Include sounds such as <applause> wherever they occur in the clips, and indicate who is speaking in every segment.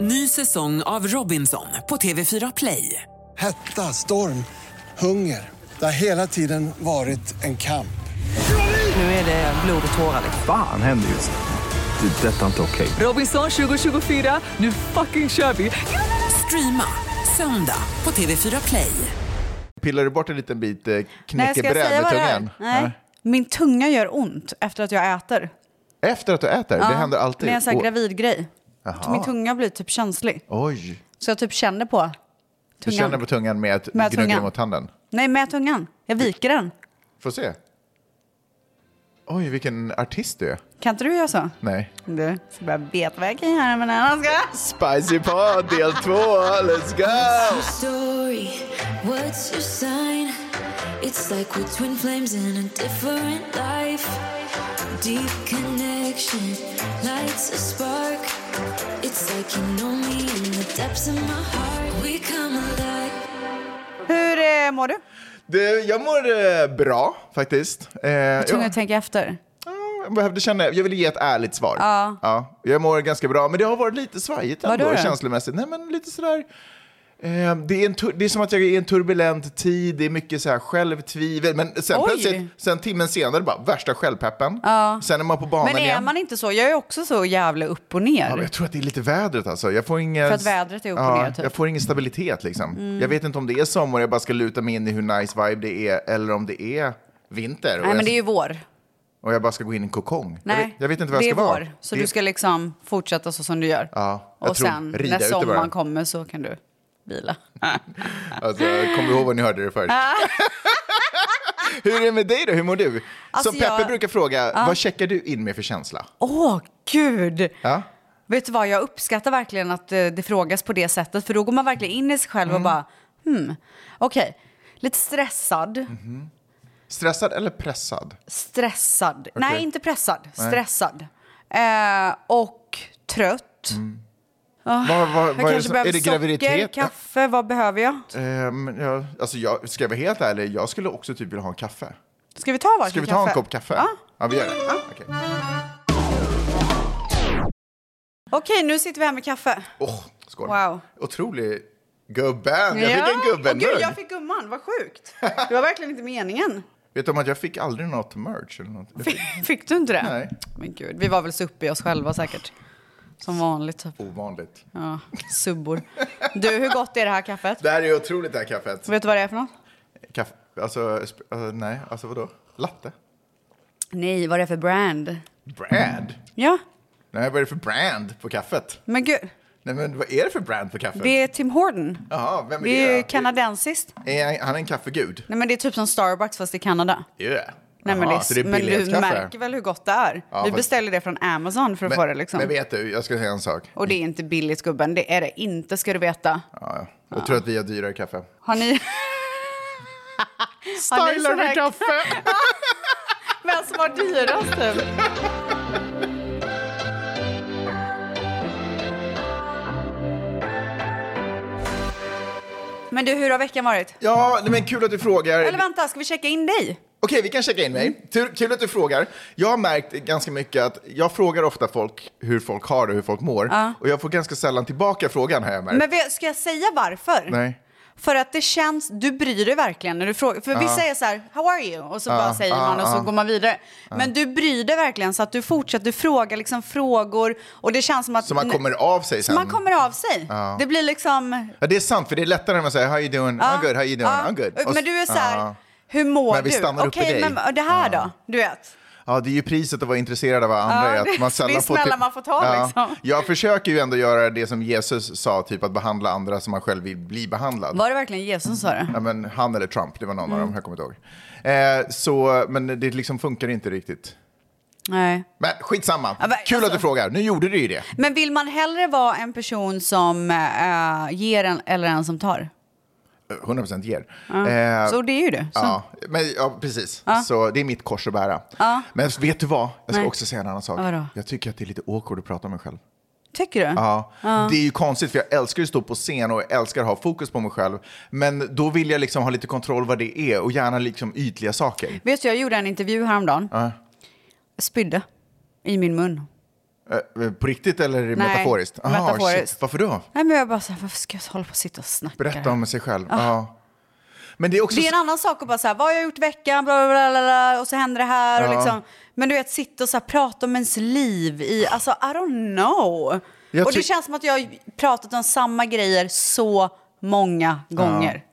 Speaker 1: Ny säsong av Robinson på TV4 Play.
Speaker 2: Hetta, storm, hunger. Det har hela tiden varit en kamp.
Speaker 1: Nu är det blod och tårar. liksom.
Speaker 3: Fan händer just nu. Det. är Detta är inte okej.
Speaker 1: Robinson 2024, nu fucking kör vi! Streama söndag på TV4 Play.
Speaker 4: Pillar du bort en liten bit eh,
Speaker 5: Nej, ska jag säga
Speaker 4: knäckebröd med
Speaker 5: vad det är?
Speaker 4: tungan?
Speaker 5: Nej. Min tunga gör ont efter att jag äter.
Speaker 4: Efter att du äter? Det händer alltid?
Speaker 5: Med en sån här
Speaker 4: Och-
Speaker 5: gravidgrej.
Speaker 4: Jaha.
Speaker 5: Min tunga blir typ känslig.
Speaker 4: Oj.
Speaker 5: Så jag typ känner på tungan.
Speaker 4: Du känner på tungan med att
Speaker 5: Med
Speaker 4: gnugga
Speaker 5: tungan.
Speaker 4: mot handen?
Speaker 5: Nej, med tungan. Jag viker den.
Speaker 4: Får se. Oj, vilken artist du är.
Speaker 5: Kan inte du göra så?
Speaker 4: Nej.
Speaker 5: Du, så börjar betväg i här med den här handsken.
Speaker 4: Spicy Pod del två, let's go!
Speaker 6: story? What's your sign? It's like we're twin flames in a different life. Deep connection lights a spark. It's like you know me in the depths of my heart. We come alive.
Speaker 5: Hur eh, mår du?
Speaker 4: Du, jag mår eh, bra faktiskt. Eh,
Speaker 5: Tunga
Speaker 4: ja,
Speaker 5: att tänka efter.
Speaker 4: jag behövde känna, jag ville ge ett ärligt svar. Ja. jag mår ganska bra, men det har varit lite svajigt
Speaker 5: Vadå
Speaker 4: ändå
Speaker 5: då?
Speaker 4: känslomässigt. Nej, men lite sådär. Eh, det, är en tur- det är som att jag är i en turbulent tid, det är mycket så här självtvivel. Men sen
Speaker 5: Oj.
Speaker 4: plötsligt, sen timmen senare, bara värsta självpeppen. Sen är man på banan
Speaker 5: Men är
Speaker 4: igen.
Speaker 5: man inte så? Jag är också så jävla upp och ner.
Speaker 4: Ja, men jag tror att det är lite vädret alltså. Jag får ingen...
Speaker 5: För att vädret är Mm. upp och
Speaker 4: ja,
Speaker 5: ner, typ.
Speaker 4: Jag får ingen stabilitet liksom. Jag vet inte om det är sommar och jag bara ska luta mig in i hur nice vibe det är eller om det är vinter och,
Speaker 5: Nej, men
Speaker 4: jag,
Speaker 5: det är ju vår.
Speaker 4: och jag bara ska gå in i en kokong. Jag,
Speaker 5: Nej,
Speaker 4: vet, jag vet inte vad
Speaker 5: det
Speaker 4: jag ska
Speaker 5: är
Speaker 4: vara.
Speaker 5: vår. Så
Speaker 4: Det-
Speaker 5: du ska liksom fortsätta så som du gör.
Speaker 4: Ja, jag
Speaker 5: och
Speaker 4: tror-
Speaker 5: sen
Speaker 4: rida
Speaker 5: när
Speaker 4: ut i bara.
Speaker 5: sommaren kommer så kan du vila.
Speaker 4: Alltså, kom ihåg vad ni hörde det först.
Speaker 5: Ah.
Speaker 4: <laughs> hur är det med dig då? Hur mår du?
Speaker 5: Alltså,
Speaker 4: Som Peppe
Speaker 5: jag-
Speaker 4: brukar fråga, vad checkar du in med för känsla?
Speaker 5: Åh, gud!
Speaker 4: Ja.
Speaker 5: Vet du vad, jag uppskattar verkligen att eh, det frågas på det sättet. För då går man verkligen in i sig själv
Speaker 4: Mm.
Speaker 5: och bara, hmm, okej. Lite stressad.
Speaker 4: Mhm. Stressad eller pressad?
Speaker 5: Stressad. Nej, inte pressad. Stressad. Eh, och trött.
Speaker 4: Vad- vad- Mm. vad
Speaker 5: Ah. Jag
Speaker 4: är, det
Speaker 5: kanske
Speaker 4: som-
Speaker 5: behöver
Speaker 4: är det
Speaker 5: socker,
Speaker 4: graviditet?
Speaker 5: kaffe, vad behöver jag?
Speaker 4: Ehm, ja, alltså jag, ska jag vara helt ärlig, jag skulle också typ vilja ha en kaffe.
Speaker 5: Ska Ah. vi ta varsin
Speaker 4: Ska vi ta en kopp kaffe?
Speaker 5: Ja.
Speaker 4: ja vi gör det. Okej.
Speaker 5: Okej, nu sitter vi här med kaffe.
Speaker 4: Åh, skål.
Speaker 5: Wow.
Speaker 4: Otrolig gubben. Jag fick en
Speaker 5: Åh,
Speaker 4: gubben
Speaker 5: gud, jag fick gumman, vad sjukt. Det var verkligen inte meningen. <laughs>
Speaker 4: Vet du om att jag fick aldrig något merch eller något? Jag fick
Speaker 5: Fick, fick du inte det?
Speaker 4: Nej.
Speaker 5: Men gud, vi var väl så uppe i oss själva säkert. Som vanligt typ.
Speaker 4: ovanligt.
Speaker 5: Ja, subbor. Du, hur gott är det här kaffet?
Speaker 4: Det här är otroligt det här kaffet.
Speaker 5: Vet du vad det är för något?
Speaker 4: Kaffe, alltså, sp- alltså, nej, alltså vadå? Latte?
Speaker 5: Nej, vad är det för brand?
Speaker 4: Brand?
Speaker 5: Ja,
Speaker 4: Nej, vad är det för brand på kaffet?
Speaker 5: men gud.
Speaker 4: Nej, men vad är det för brand på kaffet?
Speaker 5: Det är Tim Horton.
Speaker 4: Jaha, vem är
Speaker 5: Det är ju
Speaker 4: det?
Speaker 5: kanadensiskt.
Speaker 4: Är han- han är en kaffegud?
Speaker 5: Nej, men det är typ som Starbucks fast i Kanada.
Speaker 4: Yeah.
Speaker 5: Nej, men,
Speaker 4: Jaha,
Speaker 5: det
Speaker 4: så det
Speaker 5: är,
Speaker 4: är
Speaker 5: men du
Speaker 4: billighetskaffe.
Speaker 5: märker väl hur gott det är?
Speaker 4: Ja,
Speaker 5: vi
Speaker 4: fast-
Speaker 5: beställer det från Amazon för att få det liksom.
Speaker 4: men vet du, jag ska säga en sak.
Speaker 5: Och det är inte billigt gubben, det är det inte ska du veta.
Speaker 4: Ja, ja. Jag tror att vi har dyrare kaffe.
Speaker 5: Har ni... <laughs> Har ni sån här-
Speaker 4: kaffe!
Speaker 5: Vem som har dyrast typ? Men du, hur har veckan varit?
Speaker 4: Ja, nej, men kul att du frågar.
Speaker 5: Eller vänta, ska vi checka in dig?
Speaker 4: Okej, vi kan checka in
Speaker 5: Mm.
Speaker 4: mig. Tur, kul att du frågar. Jag har märkt ganska mycket att jag frågar ofta folk hur folk har det, hur folk mår. Och jag får ganska sällan tillbaka frågan här jag märkt.
Speaker 5: Men vet- ska jag säga varför?
Speaker 4: Nej.
Speaker 5: För att det känns, du bryr dig verkligen när du frågar. För vissa är så här, how are you? Och så bara säger man och så går man vidare. Men du bryr dig verkligen så att du fortsätter, du frågar liksom frågor och det känns som att...
Speaker 4: Så man kommer av sig sen.
Speaker 5: Man kommer av sig. Det blir liksom...
Speaker 4: Ja, det är sant, för det är lättare när man säger how you doing, I'm good, how you doing,
Speaker 5: Ja.
Speaker 4: I'm good. Och
Speaker 5: Men
Speaker 4: s-
Speaker 5: du är så här,
Speaker 4: Ja.
Speaker 5: hur mår
Speaker 4: Men vi
Speaker 5: du?
Speaker 4: stannar upp i dig.
Speaker 5: men det här då? Du vet.
Speaker 4: Ja, det är ju priset att vara intresserad av vad andra
Speaker 5: Ja,
Speaker 4: är. Att man
Speaker 5: det-
Speaker 4: sällan
Speaker 5: det är snälla
Speaker 4: till-
Speaker 5: man får ta,
Speaker 4: ja.
Speaker 5: liksom.
Speaker 4: Jag försöker ju ändå göra det som Jesus sa, typ att behandla andra som man själv vill bli behandlad.
Speaker 5: Var det verkligen Jesus som sa det?
Speaker 4: Ja, men han eller Trump, det var någon
Speaker 5: Mm.
Speaker 4: av dem, jag kommer inte ihåg. Eh, så, men det liksom funkar inte riktigt.
Speaker 5: Nej.
Speaker 4: Men skitsamma.
Speaker 5: Ja, men
Speaker 4: Kul att
Speaker 5: alltså-
Speaker 4: du frågar. Nu gjorde du ju det.
Speaker 5: Men vill man hellre vara en person som eh, ger en, eller en som tar?
Speaker 4: 100% ger. Eh,
Speaker 5: Så det är ju du. Så.
Speaker 4: Ja, men, ja, precis. Så det är mitt kors att bära. Men vet du vad? Jag ska
Speaker 5: Nej.
Speaker 4: också säga en annan sak.
Speaker 5: Vadå?
Speaker 4: Jag tycker att det är lite awkward att prata om mig själv.
Speaker 5: Tycker du?
Speaker 4: Ja. Det är ju konstigt för jag älskar ju att stå på scen och jag älskar att ha fokus på mig själv. Men då vill jag liksom ha lite kontroll vad det är och gärna liksom ytliga saker.
Speaker 5: Vet du, jag gjorde en intervju häromdagen. Spydde i min mun.
Speaker 4: Eh, På riktigt eller metaforiskt? Ah,
Speaker 5: metaforiskt.
Speaker 4: shit. Varför då?
Speaker 5: Nej, men jag bara så här, varför ska jag hålla på och sitta och snacka?
Speaker 4: Berätta om sig själv. Ja. Men det är också...
Speaker 5: Ah. Det är en annan sak att bara så här, vad har jag gjort i veckan, bla, bla, bla, bla, bla, och så händer det här. Och
Speaker 4: Ja.
Speaker 5: liksom. Men du vet, sitta och så här, prata om ens liv i, alltså I don't know.
Speaker 4: Jag
Speaker 5: och det
Speaker 4: ty-
Speaker 5: känns som att jag har pratat om samma grejer så många gånger.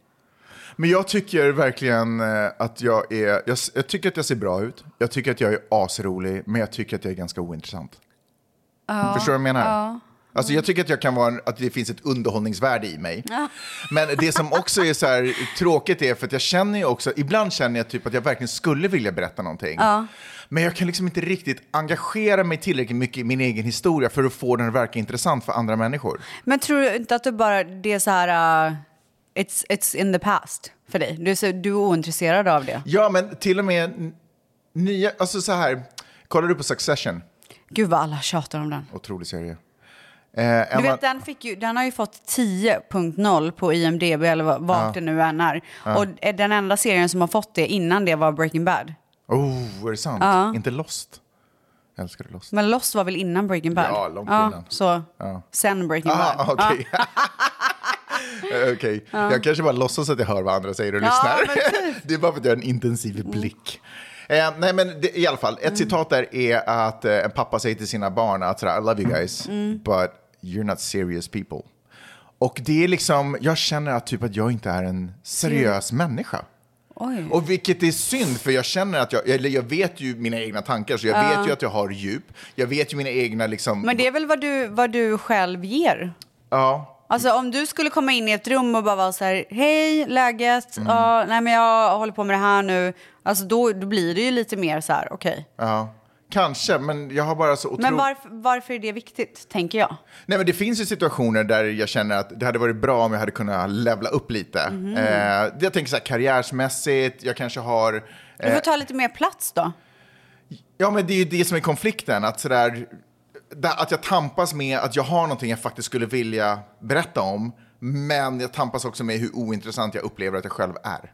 Speaker 4: Men jag tycker verkligen eh, att jag är... Jag, s- jag tycker att jag ser bra ut. Jag tycker att jag är asrolig, men jag tycker att jag är ganska ointressant. Förstår du vad jag menar? Alltså jag tycker att, jag kan vara, en- att det finns ett underhållningsvärde i mig. Men det som också är så här tråkigt är för att jag känner ju också, ibland känner jag typ att jag verkligen skulle vilja berätta någonting. Men jag kan liksom inte riktigt engagera mig tillräckligt mycket i min egen historia för att få den att verka intressant för andra människor.
Speaker 5: Men tror du inte att du bara, det är så här, uh, it's, it's in the past för dig? Du är, så, du är ointresserad av det.
Speaker 4: Ja, men till och med n- nya, alltså så här, kollar du på Succession?
Speaker 5: Gud vad alla tjatar om den.
Speaker 4: Otrolig serie. Eh,
Speaker 5: Du
Speaker 4: Emma-
Speaker 5: vet, den, fick ju, den har ju fått 10.0 på IMDB eller vad- vart det nu än är. Och är den enda serien som har fått det innan det var Breaking Bad.
Speaker 4: Oh, är det sant? Inte Lost? Jag älskar Lost.
Speaker 5: Men Lost var väl innan Breaking Bad?
Speaker 4: Ja, långt innan.
Speaker 5: Så, sen Breaking Bad.
Speaker 4: Ah, okej. Eh, okej. Jag kanske bara låtsas att jag hör vad andra säger och lyssnar. <laughs> det är bara för att jag har en intensiv blick. Eh, nej, men det, i alla fall, ett citat där är att eh, en pappa säger till sina barn att sådär, I love you guys, but you're not serious people. Och det är liksom, jag känner att typ att jag inte är en seriös människa.
Speaker 5: Oj.
Speaker 4: Och vilket är synd, för jag känner att jag, eller jag vet ju mina egna tankar, så jag vet ju att jag har djup. Jag vet ju mina egna liksom,
Speaker 5: Men det är väl vad du, vad du själv ger?
Speaker 4: ja.
Speaker 5: Alltså om du skulle komma in i ett rum och bara vara så här, hej, läget,
Speaker 4: Mm.
Speaker 5: Ja, nej men jag håller på med det här nu. Alltså då, då blir det ju lite mer så här, okej.
Speaker 4: Ja, kanske, men jag har bara så otroligt...
Speaker 5: Men varför, varför är det viktigt, tänker jag?
Speaker 4: Nej, men det finns ju situationer där jag känner att det hade varit bra om jag hade kunnat levla upp lite.
Speaker 5: Mhm.
Speaker 4: Eh, jag tänker så här karriärsmässigt, jag kanske har... eh,
Speaker 5: Du får ta lite mer plats då.
Speaker 4: Ja, men det är ju det som är konflikten, att så där, där, att jag tampas med att jag har någonting jag faktiskt skulle vilja berätta om, men jag tampas också med hur ointressant jag upplever att jag själv är.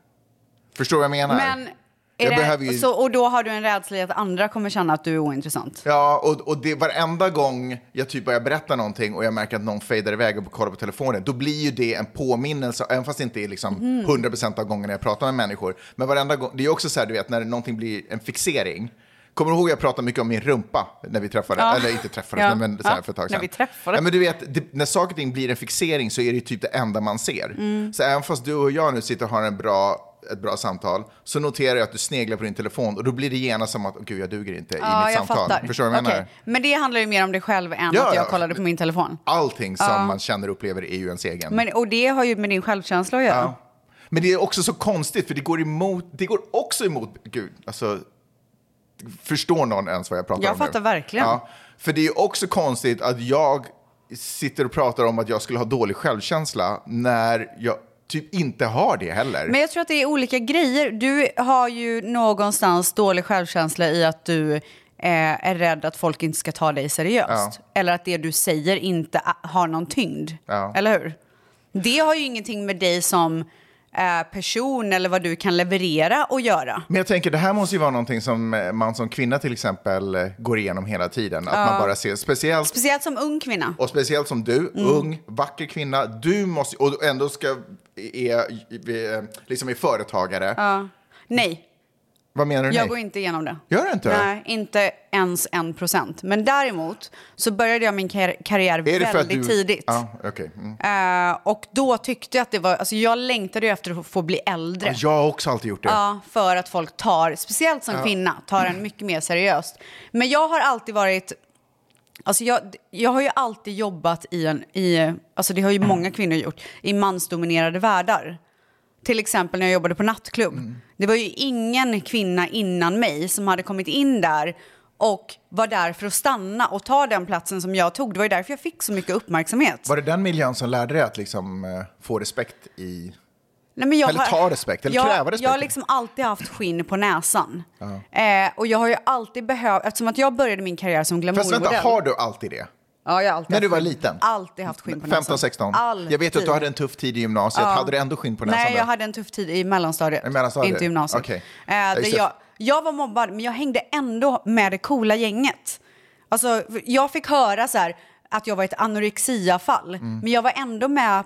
Speaker 4: Förstår du vad jag menar?
Speaker 5: Men är
Speaker 4: Jag
Speaker 5: det,
Speaker 4: behöver ju-
Speaker 5: så, och då har du en rädsla i att andra kommer känna att du är ointressant.
Speaker 4: Ja, och, och det, varenda gång jag typ börjar berätta någonting och jag märker att någon fejdar iväg och kollar på telefonen, då blir ju det en påminnelse, även fast det inte är liksom
Speaker 5: Mm.
Speaker 4: 100% av gångerna jag pratar med människor. Men varenda gång, det är också så här, du vet, när någonting blir en fixering. Kommer du ihåg jag pratade mycket om min rumpa när vi träffade,
Speaker 5: Ja.
Speaker 4: eller inte träffades,
Speaker 5: Ja.
Speaker 4: nej, men så här
Speaker 5: Ja,
Speaker 4: för ett tag
Speaker 5: när
Speaker 4: sedan.
Speaker 5: vi träffades.
Speaker 4: Ja, men du vet, det, när saker och ting blir en fixering så är det typ det enda man ser. Så även fast du och jag nu sitter och har en bra ett bra samtal, så noterar jag att du sneglar på din telefon och då blir det genast som att, "Åh, gud jag duger inte i mitt samtal. Förstår du vad jag menar?
Speaker 5: Okej. Men det handlar ju mer om dig själv än
Speaker 4: Ja,
Speaker 5: att jag
Speaker 4: ja.
Speaker 5: kollade på min telefon.
Speaker 4: Allting som man känner och upplever är ju ens egen. Men,
Speaker 5: Men, och det har ju med din självkänsla att göra.
Speaker 4: det är också så konstigt, för det går emot, det går också emot, gud, alltså, förstår någon ens vad jag pratar
Speaker 5: Jag
Speaker 4: om
Speaker 5: fattar
Speaker 4: nu?
Speaker 5: verkligen.
Speaker 4: för det är ju också konstigt att jag sitter och pratar om att jag skulle ha dålig självkänsla när jag typ inte har det heller.
Speaker 5: Men jag tror att det är olika grejer. Du har ju någonstans dålig självkänsla i att du eh, är rädd att folk inte ska ta dig seriöst. Eller att det du säger inte a- har någon tyngd.
Speaker 4: Ja.
Speaker 5: Eller hur? Det har ju ingenting med dig som eh, person eller vad du kan leverera och göra.
Speaker 4: Men jag tänker, det här måste ju vara någonting som eh, man som kvinna till exempel eh, går igenom hela tiden. Att man bara ser, speciellt
Speaker 5: Speciellt som ung kvinna.
Speaker 4: Och speciellt som
Speaker 5: Mm.
Speaker 4: du, ung, vacker kvinna, du måste, och ändå ska, eh, är, är, liksom är företagare.
Speaker 5: Nej,
Speaker 4: Vad menar du?
Speaker 5: jag
Speaker 4: nej?
Speaker 5: går inte igenom det.
Speaker 4: Gör du inte?
Speaker 5: Nej, inte ens en procent. Men däremot så började jag min kar- karriär
Speaker 4: är det
Speaker 5: väldigt
Speaker 4: för att du,
Speaker 5: tidigt.
Speaker 4: Ja, okej. Mm.
Speaker 5: Eh, och då tyckte jag att det var, alltså jag längtade ju efter att få bli äldre.
Speaker 4: Jag har också alltid gjort det.
Speaker 5: Ja, för att folk tar, speciellt som kvinna, tar en mycket mer seriöst. Men jag har alltid varit, alltså jag, jag har ju alltid jobbat i en, i, alltså det har ju många kvinnor gjort, i mansdominerade världar. Till exempel när jag jobbade på nattklubb.
Speaker 4: Mm.
Speaker 5: Det var ju ingen kvinna innan mig som hade kommit in där och var där för att stanna och ta den platsen som jag tog. Det var ju därför jag fick så mycket uppmärksamhet.
Speaker 4: Var det den miljön som lärde dig att liksom, eh, få respekt i...
Speaker 5: Nej, men jag
Speaker 4: Eller
Speaker 5: har-
Speaker 4: ta respekt, eller
Speaker 5: jag,
Speaker 4: kräva respekt.
Speaker 5: Jag har liksom alltid haft skinn på näsan. Eh, och jag har ju alltid behövt, eftersom att jag började min karriär som
Speaker 4: Fast
Speaker 5: glamourmodell.
Speaker 4: vänta, har du alltid det?
Speaker 5: Ja, jag har alltid
Speaker 4: När du
Speaker 5: haft
Speaker 4: var
Speaker 5: skinn-
Speaker 4: liten?
Speaker 5: Alltid haft skinn på näsan.
Speaker 4: 15, 16?
Speaker 5: Alltid.
Speaker 4: Jag vet att du hade en tuff tid i gymnasiet. Hade du ändå skinn på näsan?
Speaker 5: Nej,
Speaker 4: då?
Speaker 5: jag hade en tuff tid i mellanstadiet.
Speaker 4: I mellanstadiet?
Speaker 5: Inte gymnasiet.
Speaker 4: Okej.
Speaker 5: Eh,
Speaker 4: Ja, just
Speaker 5: det
Speaker 4: det.
Speaker 5: jag, jag var mobbad, men jag hängde ändå med det coola gänget. Alltså, jag fick höra så här att jag var ett anorexiafall,
Speaker 4: Mm.
Speaker 5: men jag var ändå med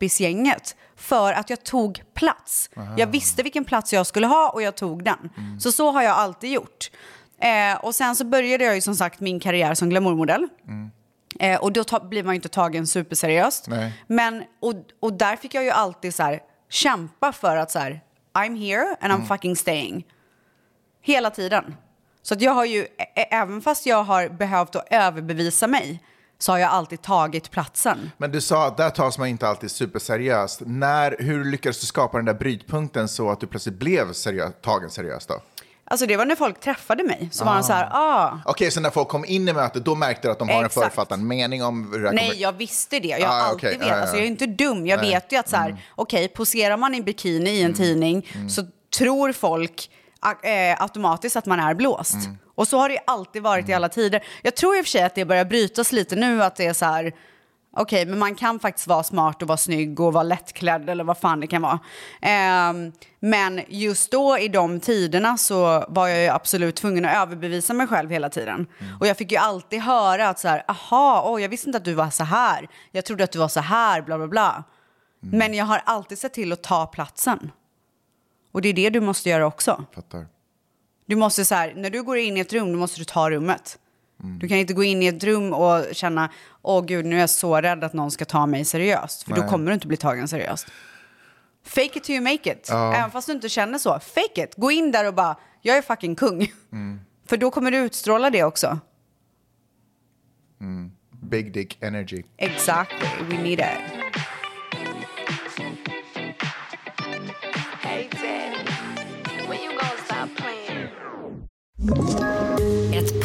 Speaker 5: poppisgänget för att jag tog plats. Jag visste vilken plats jag skulle ha och jag tog den.
Speaker 4: Mm.
Speaker 5: Så så har jag alltid gjort. Eh, och sen så började jag ju som sagt min karriär som glamourmodell. Eh, och då ta- blir man ju inte tagen superseriöst.
Speaker 4: Nej.
Speaker 5: Men, och, och där fick jag ju alltid så här, kämpa för att så här, I'm here and I'm fucking staying. Hela tiden. Så att jag har ju, ä- ä- även fast jag har behövt att överbevisa mig, så har jag alltid tagit platsen.
Speaker 4: Men du sa att där tas man inte alltid superseriöst. När, hur lyckades du skapa den där brytpunkten så att du plötsligt blev seriö- tagen seriöst då?
Speaker 5: Alltså det var när folk träffade mig, så var de så här, ah,
Speaker 4: Okej, så när folk kom in i mötet, då märkte du att de har
Speaker 5: Exakt.
Speaker 4: en författad mening om hur det här kommer-
Speaker 5: Nej, jag visste det. Jag har
Speaker 4: Ah,
Speaker 5: alltid
Speaker 4: okej.
Speaker 5: vetat.
Speaker 4: Ja, ja,
Speaker 5: Alltså,
Speaker 4: ja.
Speaker 5: jag är inte dum. Jag
Speaker 4: Nej. Mm.
Speaker 5: vet ju att så här, okej, poserar man i bikini i en tidning så tror folk a- eh, automatiskt att man är blåst.
Speaker 4: Mm.
Speaker 5: Och så har det ju alltid varit i alla tider. Jag tror i och för sig att det börjar brytas lite nu att det är så här, okej, men man kan faktiskt vara smart och vara snygg och vara lättklädd eller vad fan det kan vara. Ehm, men just då i de tiderna så var jag ju absolut tvungen att överbevisa mig själv hela tiden. Och jag fick ju alltid höra att så här, aha, åh, jag visste inte att du var så här. Jag trodde att du var så här, bla bla bla. Men jag har alltid sett till att ta platsen. Och det är det du måste göra också.
Speaker 4: Fattar.
Speaker 5: Du måste så här, när du går in i ett rum, då måste du ta rummet. Du kan inte gå in i ett rum och känna, åh gud, nu är jag så rädd att någon ska ta mig seriöst. För då
Speaker 4: Nej.
Speaker 5: kommer du inte bli tagen seriöst. Fake it till you make it. Även fast du inte känner så, fake it. Gå in där och bara, jag är fucking kung. För då kommer du utstråla det också.
Speaker 4: Big dick energy.
Speaker 5: Exactly, we need it.
Speaker 7: Ett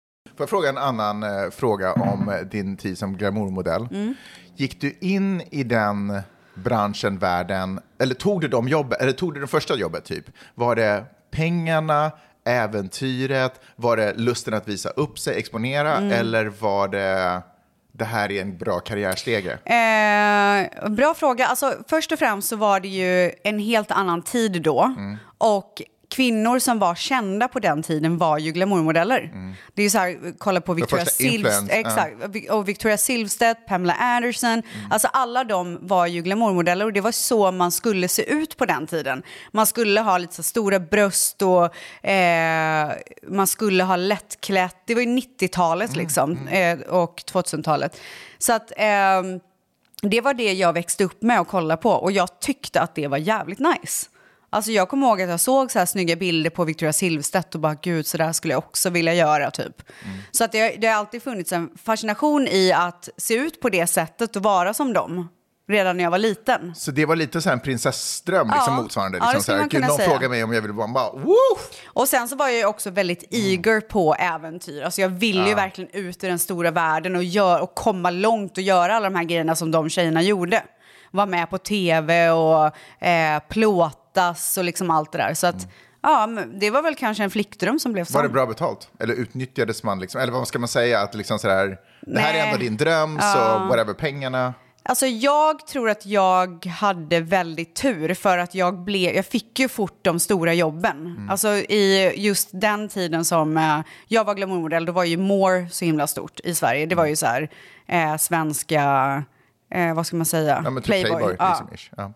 Speaker 4: Får jag fråga en annan eh, fråga om eh, din tid som glamourmodell?
Speaker 5: Mm.
Speaker 4: Gick du in i den branschen, världen, eller tog du de jobb, eller tog du det första jobbet typ? Var det pengarna, äventyret, var det lusten att visa upp sig, exponera,
Speaker 5: Mm.
Speaker 4: eller var det det här är en bra karriärstege?
Speaker 5: Eh, bra fråga. Alltså, först och främst så var det ju en helt annan tid då. Och kvinnor som var kända på den tiden var ju glamourmodeller. Det är ju så här, kolla på Victoria
Speaker 4: Mm. första influens-
Speaker 5: Silvstedt, exakt, och Victoria Silvstedt, Pamela Anderson. Alltså alla de var ju glamourmodeller och det var så man skulle se ut på den tiden. Man skulle ha lite så stora bröst och eh, man skulle ha lättklätt. Det var ju 90-talet liksom eh, och 2000-talet. Så att... ehm, det var det jag växte upp med och kollade på och jag tyckte att det var jävligt nice. Alltså jag kommer ihåg att jag såg så här snygga bilder på Victoria Silvstedt och bara gud så där skulle jag också vilja göra typ. Så att det, det har alltid funnits en fascination i att se ut på det sättet och vara som dem redan när jag var liten.
Speaker 4: Så det var lite så här en prinsessdröm, liksom
Speaker 5: Ja.
Speaker 4: motsvarande.
Speaker 5: Ja,
Speaker 4: Liksom, så
Speaker 5: det skulle
Speaker 4: här,
Speaker 5: man
Speaker 4: Gud,
Speaker 5: kunna
Speaker 4: någon
Speaker 5: säga.
Speaker 4: frågar mig om jag vill vara, man bara, woof!
Speaker 5: Och sen så var jag ju också väldigt
Speaker 4: Mm.
Speaker 5: eager på äventyr. Alltså jag ville ju verkligen ut i den stora världen och, gör, och komma långt och göra alla de här grejerna som de tjejerna gjorde. Vara med på tv och eh, plåtas och liksom allt det där. Så att, ja, men det var väl kanske en flickdröm som blev
Speaker 4: Mm. Var
Speaker 5: sann.
Speaker 4: det bra betalt? Eller utnyttjades man? Liksom? Eller vad ska man säga? Att liksom sådär, det här är
Speaker 5: Nej.
Speaker 4: ändå din dröm, så whatever pengarna.
Speaker 5: Alltså jag tror att jag hade väldigt tur för att jag, blev, jag fick ju fort de stora jobben.
Speaker 4: Mm.
Speaker 5: Alltså i just den tiden som eh, jag var glamourmodell, då var ju More så himla stort i Sverige. Det var
Speaker 4: Mm.
Speaker 5: ju så här eh, svenska, eh, vad ska man säga,
Speaker 4: Ja, men typ Playboy.
Speaker 5: Ja.
Speaker 4: liksom, ish. ja.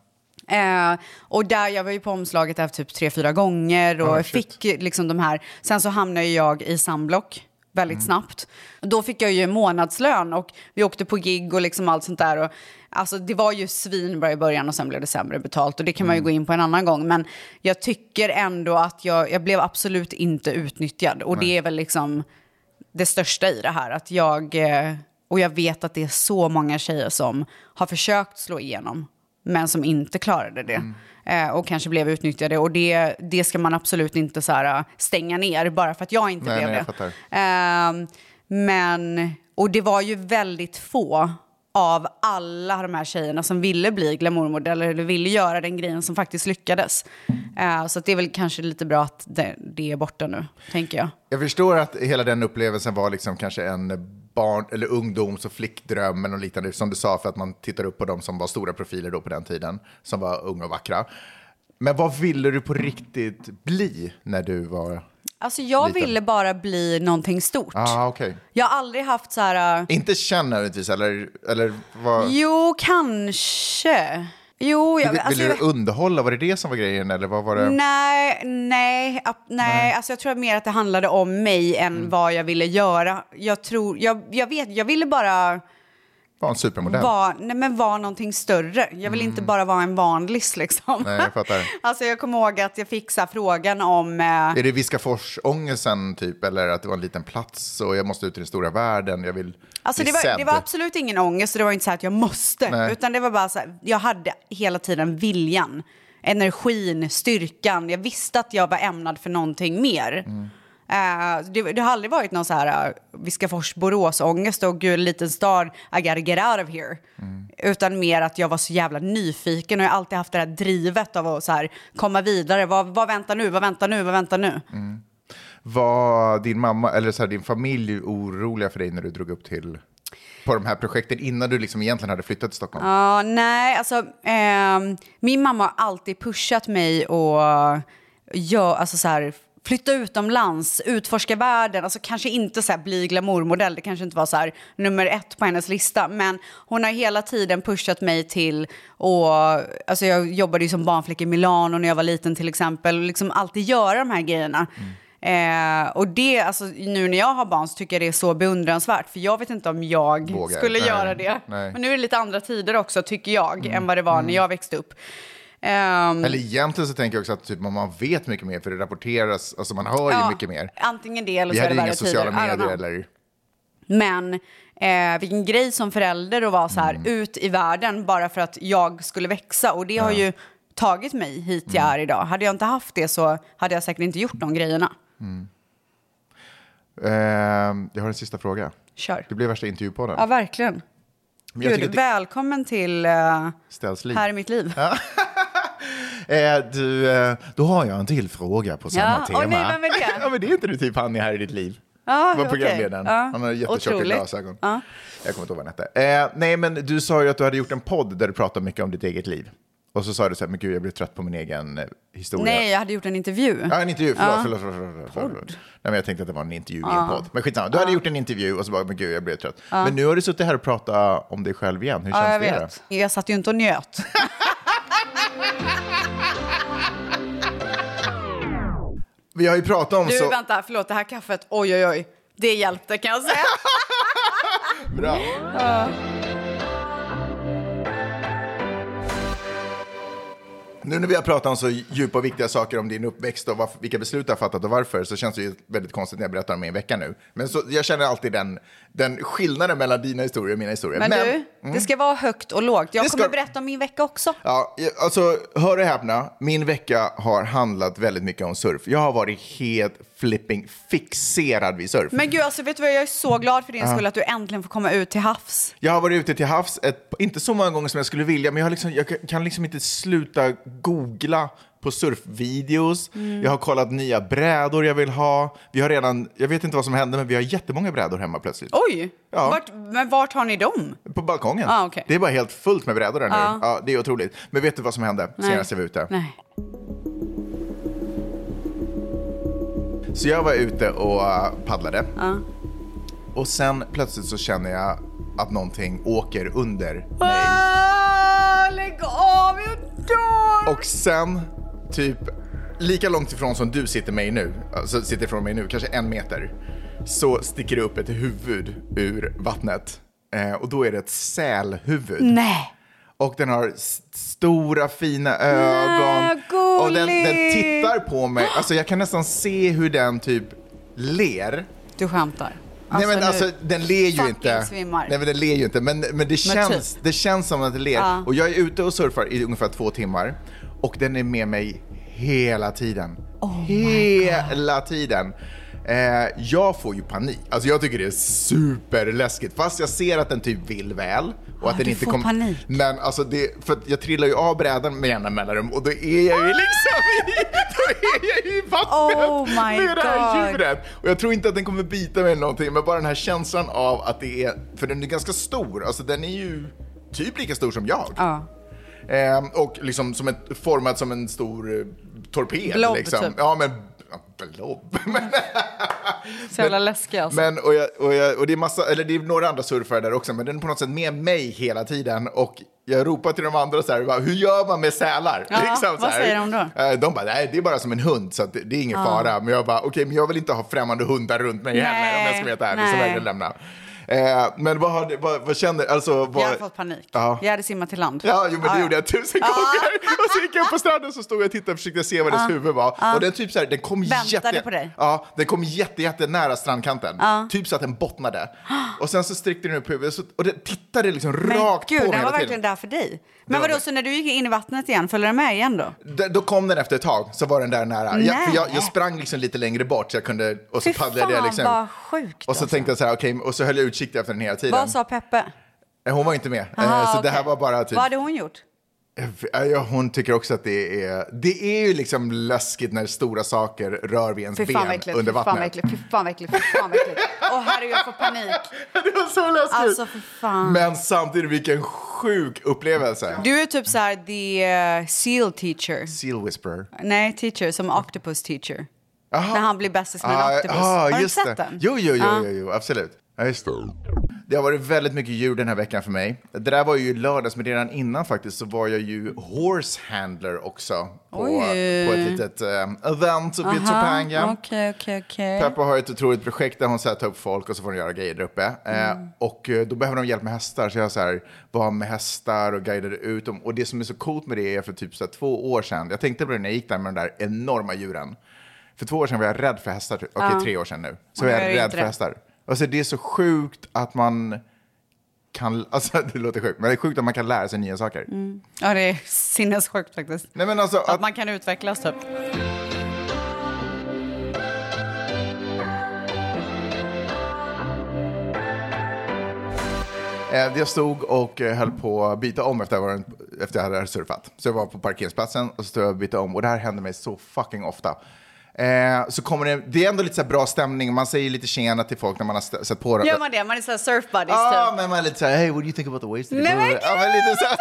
Speaker 5: Eh, och där, jag var ju på omslaget där typ tre, fyra gånger och
Speaker 4: Ah,
Speaker 5: jag
Speaker 4: shit.
Speaker 5: fick ju liksom de här. Sen så hamnade ju jag i Samblock väldigt snabbt. Då fick jag ju en månadslön och vi åkte på gig och liksom allt sånt där. Och, alltså det var ju svinbra i början och sen blev det sämre betalt och det kan man ju gå in på en annan gång. Men jag tycker ändå att jag, jag blev absolut inte utnyttjad och det är väl liksom det största i det här. Att jag, eh, och jag vet att det är så många tjejer som har försökt slå igenom men som inte klarade det. Eh, Och kanske blev utnyttjade. Och det, det ska man absolut inte eh, så här, stänga ner bara för att jag inte
Speaker 4: Nej,
Speaker 5: blev
Speaker 4: nej, jag
Speaker 5: det. Ehm, men Och det var ju väldigt få av alla de här tjejerna som ville bli glamourmodeller eller ville göra den grejen som faktiskt lyckades. Eh, så att det är väl kanske lite bra att det, det är borta nu, tänker jag.
Speaker 4: Jag förstår att hela den upplevelsen var liksom kanske en barn eller ungdoms och flickdrömmen och liknande, som du sa, för att man tittar upp på de som var stora profiler då på den tiden, som var unga och vackra. Men vad ville du på riktigt bli när du var...
Speaker 5: Alltså jag
Speaker 4: Liten.
Speaker 5: ville bara bli någonting stort.
Speaker 4: Ah, okej.
Speaker 5: Jag har aldrig haft så här... eh,
Speaker 4: Inte känd nödvändigtvis, eller, eller vad...
Speaker 5: Jo, kanske. Jo, jag,
Speaker 4: Vill-
Speaker 5: alltså,
Speaker 4: ville
Speaker 5: jag,
Speaker 4: du underhålla? Var det det som var grejen? Eller vad var det?
Speaker 5: Nej, nej, ap- nej. Alltså jag tror mer att det handlade om mig än
Speaker 4: Mm.
Speaker 5: vad jag ville göra. Jag tror, jag, jag vet, jag ville bara
Speaker 4: Var en supermodell?
Speaker 5: vara, nej men vara någonting större. Jag ville inte bara vara en vanlis liksom.
Speaker 4: Mm. Nej, jag fattar.
Speaker 5: <laughs> Alltså jag kommer ihåg att jag fick så här frågan om... Eh,
Speaker 4: <laughs> Är det Viskafors-ångesten typ? Eller att det var en liten plats och jag måste ut i den stora världen? Jag vill
Speaker 5: Alltså
Speaker 4: bli
Speaker 5: det var,
Speaker 4: sedd.
Speaker 5: det var absolut ingen ångest och det var inte så här att jag måste.
Speaker 4: Nej.
Speaker 5: Utan det var bara så här, jag hade hela tiden viljan, energin, styrkan. Jag visste att jag var ämnad för någonting mer. Eh, det, det har aldrig varit någon så här eh, Viskafors, Borås-ångest och gud, liten stad, I gotta get out of here.
Speaker 4: Mm.
Speaker 5: Utan mer att jag var så jävla nyfiken och jag har alltid haft det här drivet av att så här, komma vidare. Vad, vad väntar nu? Vad väntar nu? Vad väntar nu?
Speaker 4: Var din mamma eller så här, din familj oroliga för dig när du drog upp till på de här projekten innan du liksom egentligen hade flyttat till Stockholm?
Speaker 5: Ja, nej, alltså ehm, min mamma har alltid pushat mig och jag, alltså så här, flytta utomlands, utforska världen, alltså kanske inte så här bli glamourmodell, det kanske inte var så här nummer ett på hennes lista, men hon har hela tiden pushat mig till och alltså jag jobbade ju som barnflicka i Milano när jag var liten till exempel, och liksom alltid göra de här grejerna.
Speaker 4: Mm.
Speaker 5: Eh, och det, alltså, nu när jag har barn så tycker jag det är så beundransvärt, för jag vet inte om jag
Speaker 4: Vågar.
Speaker 5: skulle
Speaker 4: Nej.
Speaker 5: göra det.
Speaker 4: Nej.
Speaker 5: Men nu är det lite andra tider också, tycker jag, än vad det var när jag växte upp. Ehm,
Speaker 4: Mm, Eller egentligen så tänker jag också att typ, man vet mycket mer för det rapporteras, alltså man hör ju
Speaker 5: ja,
Speaker 4: mycket mer.
Speaker 5: Antingen det eller
Speaker 4: Vi
Speaker 5: så är
Speaker 4: hade
Speaker 5: det värre
Speaker 4: inga sociala
Speaker 5: tider. I don't
Speaker 4: medier eller...
Speaker 5: know. Men eh, vilken grej som förälder att vara så här
Speaker 4: Mm.
Speaker 5: ut i världen bara för att jag skulle växa. Och det har ju tagit mig hit jag
Speaker 4: Mm.
Speaker 5: är idag. Hade jag inte haft det så hade jag säkert inte gjort de grejerna.
Speaker 4: Ehm, jag har en sista fråga.
Speaker 5: Kör.
Speaker 4: Det blir värsta intervjupodden.
Speaker 5: Ja, verkligen.
Speaker 4: Men jag tycker
Speaker 5: Gud,
Speaker 4: att
Speaker 5: välkommen till eh,
Speaker 4: det ställs liv.
Speaker 5: Här i mitt liv.
Speaker 4: Eh, du, eh, då har jag en till fråga på samma
Speaker 5: Ja,
Speaker 4: tema.
Speaker 5: åh nej, vem är det?
Speaker 4: <laughs> ja, men det är inte du typ han är här i ditt liv?
Speaker 5: Ja,
Speaker 4: Det var
Speaker 5: okej.
Speaker 4: programledaren.
Speaker 5: Ja.
Speaker 4: Han har jättetjocka
Speaker 5: Otroligt.
Speaker 4: glasögon.
Speaker 5: Ja.
Speaker 4: Jag kommer inte ihåg vad han hette. Eh, nej, men du sa ju att du hade gjort en podd där du pratade mycket om ditt eget liv. Och så sa du så här, men gud, jag blev trött på min egen eh, historia.
Speaker 5: Nej, jag hade gjort en intervju.
Speaker 4: Ja, en intervju. Förlåt, förlåt, förlåt, förlåt, förlåt, förlåt. Nej, men jag tänkte att det var en intervju i en podd. Men skitsamma, du hade gjort en intervju och så bara, men gud, jag blev trött. Men nu har du suttit här och pratat om dig själv igen. Hur
Speaker 5: Ja, jag
Speaker 4: känns det?
Speaker 5: vet. Jag satt ju inte och njöt.
Speaker 4: då? Vi har ju pratat om
Speaker 5: Du,
Speaker 4: så...
Speaker 5: vänta, förlåt, det här kaffet, oj, oj, oj. Det hjälpte kan jag säga.
Speaker 4: <laughs> Bra. Nu när vi har pratat om så djupa och viktiga saker om din uppväxt och varför, vilka beslut du har fattat och varför så känns det ju väldigt konstigt när jag berättar om min vecka nu. Men så, jag känner alltid den, den skillnaden mellan dina historier och mina historier.
Speaker 5: Men, du, det ska vara högt och lågt. Jag
Speaker 4: mm. Det ska-
Speaker 5: kommer berätta om min vecka också.
Speaker 4: Ja, jag- alltså, hör och häpna, min vecka har handlat väldigt mycket om surf. Jag har varit helt flipping fixerad vid surf.
Speaker 5: Men gud, alltså vet du vad, jag är så glad för din skull att du äntligen får komma ut till havs.
Speaker 4: Jag har varit ute till havs, ett, inte så många gånger som jag skulle vilja, men jag, har liksom, jag kan liksom inte sluta googla på surfvideos.
Speaker 5: Mm.
Speaker 4: Jag har kollat nya brädor jag vill ha. Vi har redan, jag vet inte vad som hände, men vi har jättemånga brädor hemma plötsligt.
Speaker 5: Oj!
Speaker 4: Ja.
Speaker 5: Vart, men vart har ni dem?
Speaker 4: På balkongen.
Speaker 5: Ah, okej. Ah.
Speaker 4: Det är bara helt fullt med brädor där nu. Ja, det är otroligt. Men vet du vad som hände senast jag var ute?
Speaker 5: Nej.
Speaker 4: Så jag var ute och äh, paddlade.
Speaker 5: Ah.
Speaker 4: Och sen plötsligt så känner jag att någonting åker under mig.
Speaker 5: Ah, lägg av, jag dör!
Speaker 4: Och sen, typ lika långt ifrån som du sitter mig nu, alltså sitter ifrån mig nu, kanske en meter, så sticker det upp ett huvud ur vattnet. Eh, och då är det ett sälhuvud.
Speaker 5: Nej.
Speaker 4: Och den har s- stora fina ögon. och den, den
Speaker 5: gulligt.
Speaker 4: tittar på mig. Alltså jag kan nästan se hur den typ ler.
Speaker 5: Du skämtar.
Speaker 4: Nej men
Speaker 5: nu-
Speaker 4: alltså den ler ju
Speaker 5: fucking
Speaker 4: inte.
Speaker 5: svimmar.
Speaker 4: Nej men den ler ju inte. Men, men det, känns,
Speaker 5: typ.
Speaker 4: det känns som att den ler. Och jag är ute och surfar i ungefär två timmar.
Speaker 5: Oh
Speaker 4: Och den är med mig hela tiden. hela tiden. Eh, jag får ju panik. Alltså jag tycker det är superläskigt. Fast jag ser att den typ vill väl. Och att
Speaker 5: du
Speaker 4: den inte
Speaker 5: får
Speaker 4: kommer-
Speaker 5: panik.
Speaker 4: Men alltså det, för att jag trillar ju av brädan med jämna mellanrum och då är jag ju liksom i, <laughs> då är jag ju i <laughs> vattnet
Speaker 5: Oh my
Speaker 4: med det här
Speaker 5: God.
Speaker 4: djuret. Och jag tror inte att den kommer bita mig eller någonting, men bara den här känslan av att det är, för den är ganska stor, alltså den är ju typ lika stor som jag.
Speaker 5: Ja.
Speaker 4: Ehm, och liksom som ett, formad som en stor eh, torped.
Speaker 5: Blob,
Speaker 4: liksom.
Speaker 5: typ.
Speaker 4: Ja, men ja, blob. <laughs> Men-
Speaker 5: Så jävla läskig alltså.
Speaker 4: men, och, jag, och, jag, och det är massa, eller det är några andra surfare där också, men den är på något sätt med mig hela tiden. Och jag ropar till de andra så här, bara, hur gör man med sälar? <laughs> Liksom
Speaker 5: Ja,
Speaker 4: så
Speaker 5: vad
Speaker 4: här.
Speaker 5: säger de då?
Speaker 4: Eh, De bara, nej det är bara som en hund så att det, det är ingen fara. Men jag bara, okej men jag vill inte ha främmande hundar runt mig heller om jag ska veta ärligt så
Speaker 5: nej.
Speaker 4: vägrar jag lämna. Eh, men vad, har, vad, vad känner, alltså vad...
Speaker 5: Jag hade fått panik.
Speaker 4: Ja.
Speaker 5: Jag hade simmat till land.
Speaker 4: Ja, jo, men
Speaker 5: Ja,
Speaker 4: det
Speaker 5: ja.
Speaker 4: gjorde jag tusen gånger. Och så gick jag på stranden så stod jag och tittade och försökte se vad dess huvud var. Och den typ så här, den kom
Speaker 5: Väntade
Speaker 4: jätte...
Speaker 5: på dig.
Speaker 4: Ja, den kom jätte, jätte nära strandkanten. Typ så att den bottnade. Och sen så sträckte den upp huvudet så, och den tittade liksom
Speaker 5: Men
Speaker 4: rakt
Speaker 5: gud,
Speaker 4: på mig
Speaker 5: den var
Speaker 4: hela
Speaker 5: verkligen
Speaker 4: tiden.
Speaker 5: där för dig. Men
Speaker 4: var
Speaker 5: vadå,
Speaker 4: det.
Speaker 5: så när du gick in i vattnet igen, följde den med igen då?
Speaker 4: D- Då kom den efter ett tag, så var den där nära. Jag, för jag, jag
Speaker 5: Nej.
Speaker 4: sprang liksom lite längre bort så jag kunde, och så
Speaker 5: Fy
Speaker 4: paddlade jag
Speaker 5: fan,
Speaker 4: liksom.
Speaker 5: vad sjukt
Speaker 4: Och så
Speaker 5: alltså.
Speaker 4: tänkte jag så här, okej, och så höll jag utkik efter den hela tiden.
Speaker 5: Vad sa Peppe?
Speaker 4: Eh, Hon var inte med. Eh,
Speaker 5: Aha,
Speaker 4: så det här
Speaker 5: okej.
Speaker 4: var bara typ...
Speaker 5: Vad hade hon gjort?
Speaker 4: Ja, ja, hon tycker också att det är... Det är ju liksom läskigt när stora saker rör vid ens
Speaker 5: Fy
Speaker 4: ben
Speaker 5: fan vad äckligt,
Speaker 4: under
Speaker 5: fy fan vad
Speaker 4: vattnet.
Speaker 5: äckligt, fy fan vad äckligt, fy fan vad äckligt. Åh herregud, jag får panik.
Speaker 4: <laughs> <laughs> det var så läskigt!
Speaker 5: Alltså för fan.
Speaker 4: Men samtidigt, vilken sjuk upplevelse.
Speaker 5: Du är typ så här the eh, seal teacher.
Speaker 4: Seal whisperer.
Speaker 5: Nej, teacher, som octopus teacher. När han blir bästis med
Speaker 4: Ah,
Speaker 5: en octopus.
Speaker 4: ah,
Speaker 5: Har du inte
Speaker 4: just
Speaker 5: sett
Speaker 4: det.
Speaker 5: den? Ah.
Speaker 4: Jo, jo, jo, jo, jo absolut. Ja, just det. det har varit väldigt mycket djur den här veckan för mig. Det där var ju i lördags, men redan innan faktiskt så var jag ju horse handler också. På,
Speaker 5: Oj.
Speaker 4: på ett litet eh, event uppe i Topanga.
Speaker 5: Okej, okej, okej.
Speaker 4: Peppa har ett otroligt projekt där hon så här tar upp folk och så får de göra grejer där uppe.
Speaker 5: Mm.
Speaker 4: Eh, och eh, då behöver de hjälp med hästar. Så jag så här, var med hästar och guidade ut dem. Och det som är så coolt med det är för typ så här, två år sedan. Jag tänkte på det när jag gick där med de där enorma djuren. För två år sedan var jag rädd för hästar. typ. Okej, tre år sedan nu. Så var
Speaker 5: jag är
Speaker 4: jag
Speaker 5: inte
Speaker 4: rädd för
Speaker 5: rädd.
Speaker 4: hästar. Alltså det är så sjukt att man kan, <laughs> alltså det låter sjukt, men det är sjukt att man kan lära sig nya saker.
Speaker 5: Ja, det är sinnessjukt faktiskt.
Speaker 4: Nej men alltså,
Speaker 5: Mm. Att
Speaker 4: att,
Speaker 5: man kan utvecklas typ.
Speaker 4: Eh, Jag stod och eh, höll på att byta om efter jag, var, efter jag hade surfat. Så jag var på parkeringsplatsen och så stod jag och bytte om. Och det här hände mig så fucking ofta. Eh, så kommer det, det är ändå lite så här bra stämning. Man säger lite tjena till folk när man har st- satt på det.
Speaker 5: Gör man det? Man är så här surf buddies
Speaker 4: Ja,
Speaker 5: typ.
Speaker 4: men man är lite så här, hey, what do you think about the waves?
Speaker 5: Nej, men gud,
Speaker 4: ja, men lite så här.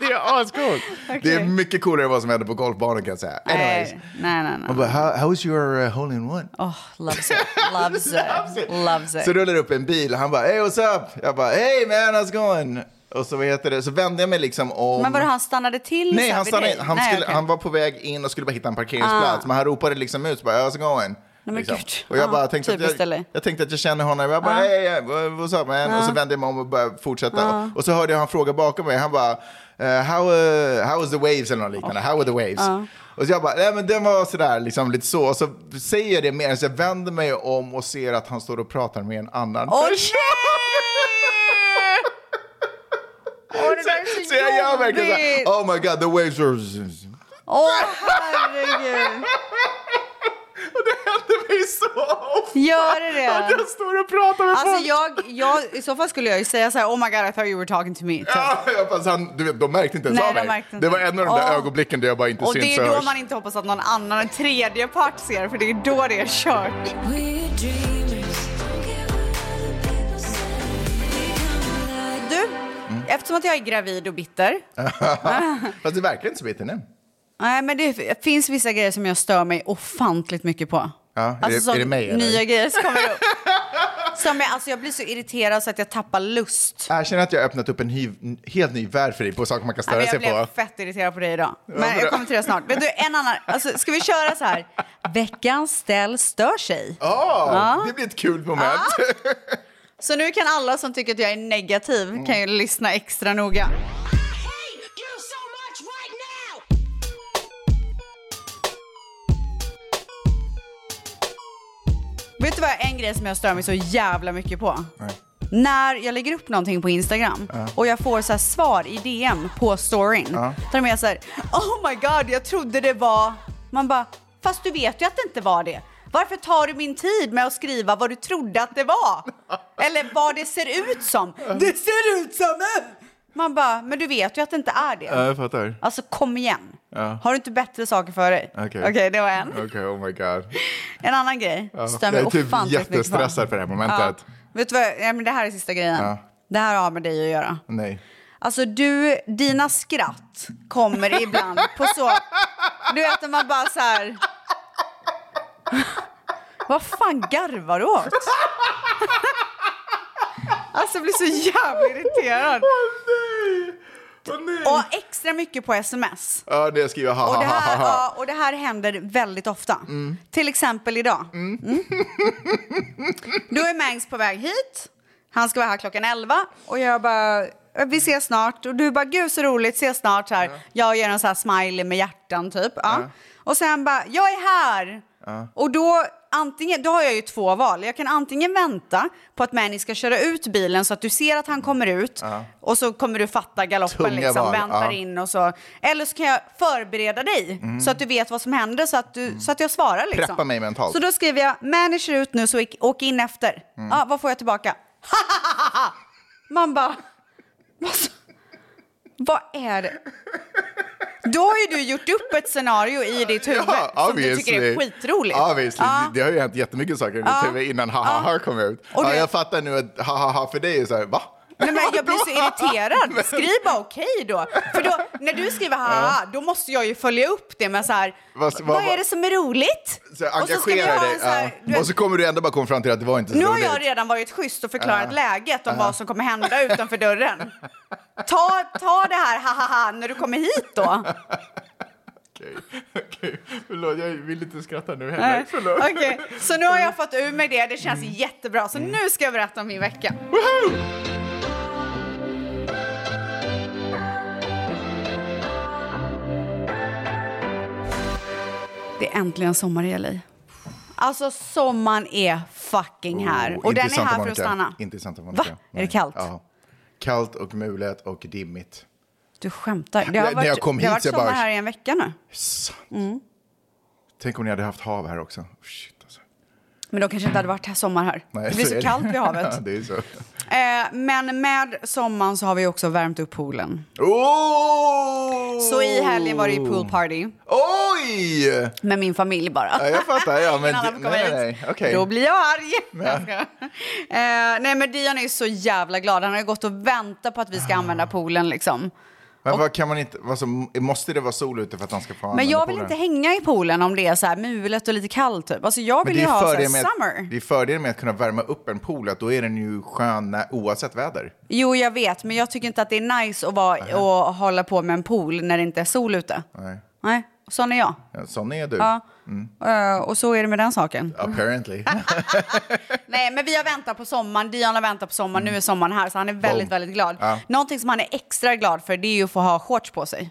Speaker 4: Det är ascoolt. Det är
Speaker 5: Okej.
Speaker 4: mycket coolare än vad som hände på golfbanan kan jag säga. Anyways.
Speaker 5: Nej, nej, nej. nej.
Speaker 4: Man bara, how, how is your uh, hole in one?
Speaker 5: Oh,
Speaker 4: <laughs>
Speaker 5: loves it, loves it, loves it.
Speaker 4: Så rullar det upp en bil och han bara hey what's up? Jag bara hey man how's it going? Och så vad heter det, så vände jag mig liksom om.
Speaker 5: Men var han stannade till? så
Speaker 4: Nej,
Speaker 5: här
Speaker 4: han
Speaker 5: vid
Speaker 4: stannade
Speaker 5: dig?
Speaker 4: in. Han,
Speaker 5: Nej,
Speaker 4: skulle,
Speaker 5: okej. Ah.
Speaker 4: han var på väg in och skulle bara hitta en parkeringsplats. Men han ropade liksom ut så bara how's it going?
Speaker 5: men
Speaker 4: liksom.
Speaker 5: gud.
Speaker 4: Och jag
Speaker 5: Ah,
Speaker 4: bara tänkte
Speaker 5: typiskt,
Speaker 4: att jag,
Speaker 5: eller?
Speaker 4: jag tänkte att jag känner honom. Jag bara hey hey, what's up man? Och
Speaker 5: Ah.
Speaker 4: så vände jag mig om och började fortsätta. Och, och så hörde jag han fråga bakom mig. Han bara eh, how, uh, how is the waves eller något
Speaker 5: Oh.
Speaker 4: liknande. How are the waves?
Speaker 5: Ah.
Speaker 4: Och så jag bara, nej men den var sådär, liksom lite så. Och så säger jag det mer, så jag vänder mig om och ser att han står och pratar med en annan
Speaker 5: Åh,
Speaker 4: person. <laughs>
Speaker 5: Åh, det där är så,
Speaker 4: Så jag gör verkligen såhär,
Speaker 5: jobbigt.
Speaker 4: oh my god the waves are...
Speaker 5: Åh, herregud.
Speaker 4: Och det händer mig så ofta. <laughs>
Speaker 5: Gör det det?
Speaker 4: Att jag står och pratar med
Speaker 5: Alltså
Speaker 4: folk.
Speaker 5: jag, jag, i så fall skulle jag ju säga så här, oh my god I thought you were talking to me. typ.
Speaker 4: Ja, ja, fast han, du vet, de märkte inte ens
Speaker 5: Nej,
Speaker 4: av
Speaker 5: de
Speaker 4: mig.
Speaker 5: märkte inte.
Speaker 4: Det var en av de där
Speaker 5: Åh.
Speaker 4: ögonblicken där jag bara inte
Speaker 5: Och det
Speaker 4: syns
Speaker 5: är
Speaker 4: och
Speaker 5: då
Speaker 4: hörs.
Speaker 5: man inte hoppas att någon annan, en tredje part ser, för det är då det är kört.
Speaker 6: We're dreamers. Don't care what other people say. We come alive.
Speaker 5: Du,
Speaker 4: Mm.
Speaker 5: eftersom att jag är gravid och bitter,
Speaker 4: Fast det verkar inte så bitter nu.
Speaker 5: nej men det finns vissa grejer som jag stör mig ofantligt mycket på. Alltså,
Speaker 4: Ja, är det-
Speaker 5: som
Speaker 4: är det mig, eller?
Speaker 5: Nya grejer som kommer
Speaker 4: <laughs>
Speaker 5: upp. Som jag, alltså jag blir så irriterad så att jag tappar lust.
Speaker 4: Erkänn att jag har öppnat upp en hy- helt ny värld för dig på saker man kan
Speaker 5: Nej,
Speaker 4: störa
Speaker 5: men
Speaker 4: sig
Speaker 5: jag blev
Speaker 4: på.
Speaker 5: fett irriterad på dig idag. Men
Speaker 4: Varför då?
Speaker 5: jag kommer till det snart. Vet du, en annan, alltså, ska vi köra så här? Veckans ställ stör sig.
Speaker 4: Åh, Ah, Det blir ett kul moment.
Speaker 5: Ah.
Speaker 4: <laughs>
Speaker 5: Så nu kan alla som tycker att jag är negativ kan ju lyssna extra noga. Vet du vad, en grej som jag stör mig så jävla mycket på? När jag lägger upp någonting på Instagram och jag får så här svar i DM på storyn. Där de är så här, oh my god, jag trodde det var... Man bara, fast du vet ju att det inte var det. Varför tar du min tid med att skriva vad du trodde att det var? Eller vad det ser ut som? <laughs> Det ser ut som en! Man bara, men du vet ju att det inte är det.
Speaker 4: Ja, jag fattar.
Speaker 5: Alltså kom igen. Har du inte bättre saker för dig?
Speaker 4: Okej.
Speaker 5: det var en.
Speaker 4: Okej, oh my god.
Speaker 5: En annan grej.
Speaker 4: Ja.
Speaker 5: Stör
Speaker 4: Jag
Speaker 5: mig
Speaker 4: är typ
Speaker 5: ofantligt mycket på.
Speaker 4: jättestressad för det här momentet.
Speaker 5: Vet du vad, ja, men det här är sista grejen.
Speaker 4: Ja.
Speaker 5: Det här har med dig att göra.
Speaker 4: Nej.
Speaker 5: Alltså du, dina skratt kommer ibland på så... Du vet när man bara så här... Vad fan garvar du åt? Alltså jag blir så jävla irriterad.
Speaker 4: Åh nej!
Speaker 5: Och extra mycket på sms.
Speaker 4: Ja, det skriver jag ha,
Speaker 5: Och
Speaker 4: ha,
Speaker 5: det
Speaker 4: ha, <laughs>
Speaker 5: här,
Speaker 4: ha, ha.
Speaker 5: ja, och det här händer väldigt ofta.
Speaker 4: Mm.
Speaker 5: Till exempel idag. Mm. Då är Mangs på väg hit. Han ska vara här klockan 11. Och jag bara, vi ses snart. Och du bara, gud så roligt, ses snart. Så här. Jag gör en så här smiley med hjärtan typ. Ja. Och sen bara, jag är här. Och då, antingen, då har jag ju två val. Jag kan antingen vänta på att Manny ska köra ut bilen så att du ser att han kommer ut. Och så kommer du fatta galoppen,
Speaker 4: Tunga
Speaker 5: liksom,
Speaker 4: val,
Speaker 5: väntar
Speaker 4: ja. Mm.
Speaker 5: in in och så. Eller så kan jag förbereda dig så att du vet vad som händer så att, du, så att jag svarar. Liksom.
Speaker 4: Preppa mig mentalt. Mm.
Speaker 5: Så då skriver jag manager ut nu så ik- åk in efter. Ja, vad får jag tillbaka? <laughs> Man bara... Vad, så- vad är det? Då har ju du gjort upp ett scenario i ditt huvud som du tycker är
Speaker 4: obviously.
Speaker 5: skitroligt.
Speaker 4: Obviously.
Speaker 5: Ja.
Speaker 4: Det har ju hänt jättemycket saker i mitt huvud innan ha, ha, ha kom ut.
Speaker 5: Och
Speaker 4: Ja,
Speaker 5: du-
Speaker 4: jag fattar nu att ha, ha, ha för dig är så här, va?
Speaker 5: Nej, men
Speaker 4: <laughs>
Speaker 5: jag blir så irriterad. Skriv bara okej då. För då, när du skriver haha, då måste jag ju följa upp det med så här,
Speaker 4: Vad-
Speaker 5: vad,
Speaker 4: vad-
Speaker 5: är det som är roligt?
Speaker 4: Så här,
Speaker 5: Och så ska vi
Speaker 4: engagera
Speaker 5: ha en
Speaker 4: dig.
Speaker 5: så här, du
Speaker 4: ja.
Speaker 5: vet,
Speaker 4: Och så kommer du ändå bara komma fram till att det var inte så
Speaker 5: nu har
Speaker 4: roligt.
Speaker 5: jag redan varit schysst och förklarat läget om vad som kommer hända utanför dörren. Ta, ta det här hahaha när du kommer hit
Speaker 4: <laughs>
Speaker 5: då.
Speaker 4: Okej, <laughs> okej. Förlåt, jag vill inte skratta nu heller. Förlåt.
Speaker 5: Eh,
Speaker 4: Mm.
Speaker 5: Okej, Så nu
Speaker 4: <laughs>
Speaker 5: har jag fått ur mig det, det känns jättebra. Så nu ska jag berätta om min vecka. Det är äntligen sommar i LA. Alltså sommaren är fucking här.
Speaker 4: Oh,
Speaker 5: och
Speaker 4: inte
Speaker 5: den är
Speaker 4: Santa
Speaker 5: här för
Speaker 4: Monica.
Speaker 5: att stanna.
Speaker 4: Inte i Santa Monica.
Speaker 5: Va?
Speaker 4: Nej.
Speaker 5: Är det kallt?
Speaker 4: Ja. Kallt och mulet och dimmigt.
Speaker 5: Du skämtar. Det
Speaker 4: När
Speaker 5: har
Speaker 4: jag
Speaker 5: varit,
Speaker 4: kom
Speaker 5: det
Speaker 4: hit
Speaker 5: har varit
Speaker 4: så jag
Speaker 5: sommar
Speaker 4: bara-
Speaker 5: här i en vecka nu.
Speaker 4: Sant.
Speaker 5: Mm.
Speaker 4: Tänk om ni hade haft hav här också. Shit, alltså.
Speaker 5: Men då kanske inte hade varit här sommar här.
Speaker 4: Nej,
Speaker 5: det blir så,
Speaker 4: är
Speaker 5: kallt vid
Speaker 4: <laughs>
Speaker 5: havet.
Speaker 4: det är så.
Speaker 5: Eh, men med sommaren så har vi också värmt upp poolen.
Speaker 4: Oh!
Speaker 5: Så i helgen var det ju poolparty
Speaker 4: Oj!
Speaker 5: med min familj bara.
Speaker 4: Ja,
Speaker 5: <laughs>
Speaker 4: jag fattar. Ja, men
Speaker 5: Ingen annan får komma
Speaker 4: nej,
Speaker 5: hit.
Speaker 4: nej, okej.
Speaker 5: Då blir jag
Speaker 4: <laughs>
Speaker 5: arg. eh, nej men Dion är så jävla glad. Han har ju gått och väntat på att vi ska
Speaker 4: Ah.
Speaker 5: använda poolen liksom.
Speaker 4: Men vad kan man inte, vad som, måste det vara sol ute för att han ska få
Speaker 5: Men
Speaker 4: använda
Speaker 5: jag vill
Speaker 4: poolen?
Speaker 5: inte hänga i poolen om det är så här mulet och lite kallt typ. Alltså jag
Speaker 4: Men
Speaker 5: vill ju
Speaker 4: är
Speaker 5: ha så här
Speaker 4: fördel med,
Speaker 5: summer.
Speaker 4: Det är fördelen med att kunna värma upp en pool, att då är den ju skön när- oavsett väder.
Speaker 5: Jo, jag vet, men jag tycker inte att det är nice att vara, och hålla på med en pool när det inte är sol ute.
Speaker 4: Nej.
Speaker 5: Nej, sån är jag.
Speaker 4: Ja, Sån är du.
Speaker 5: Ja.
Speaker 4: Mm.
Speaker 5: Eh, och så är det med den saken. <laughs>
Speaker 4: Apparently.
Speaker 5: Nej, men vi har väntat på sommaren. Dion har väntat på sommaren. Nu är sommaren här, så han är väldigt, väldigt glad.
Speaker 4: Ja.
Speaker 5: Någonting som han är extra glad för, det är ju att få ha shorts på sig.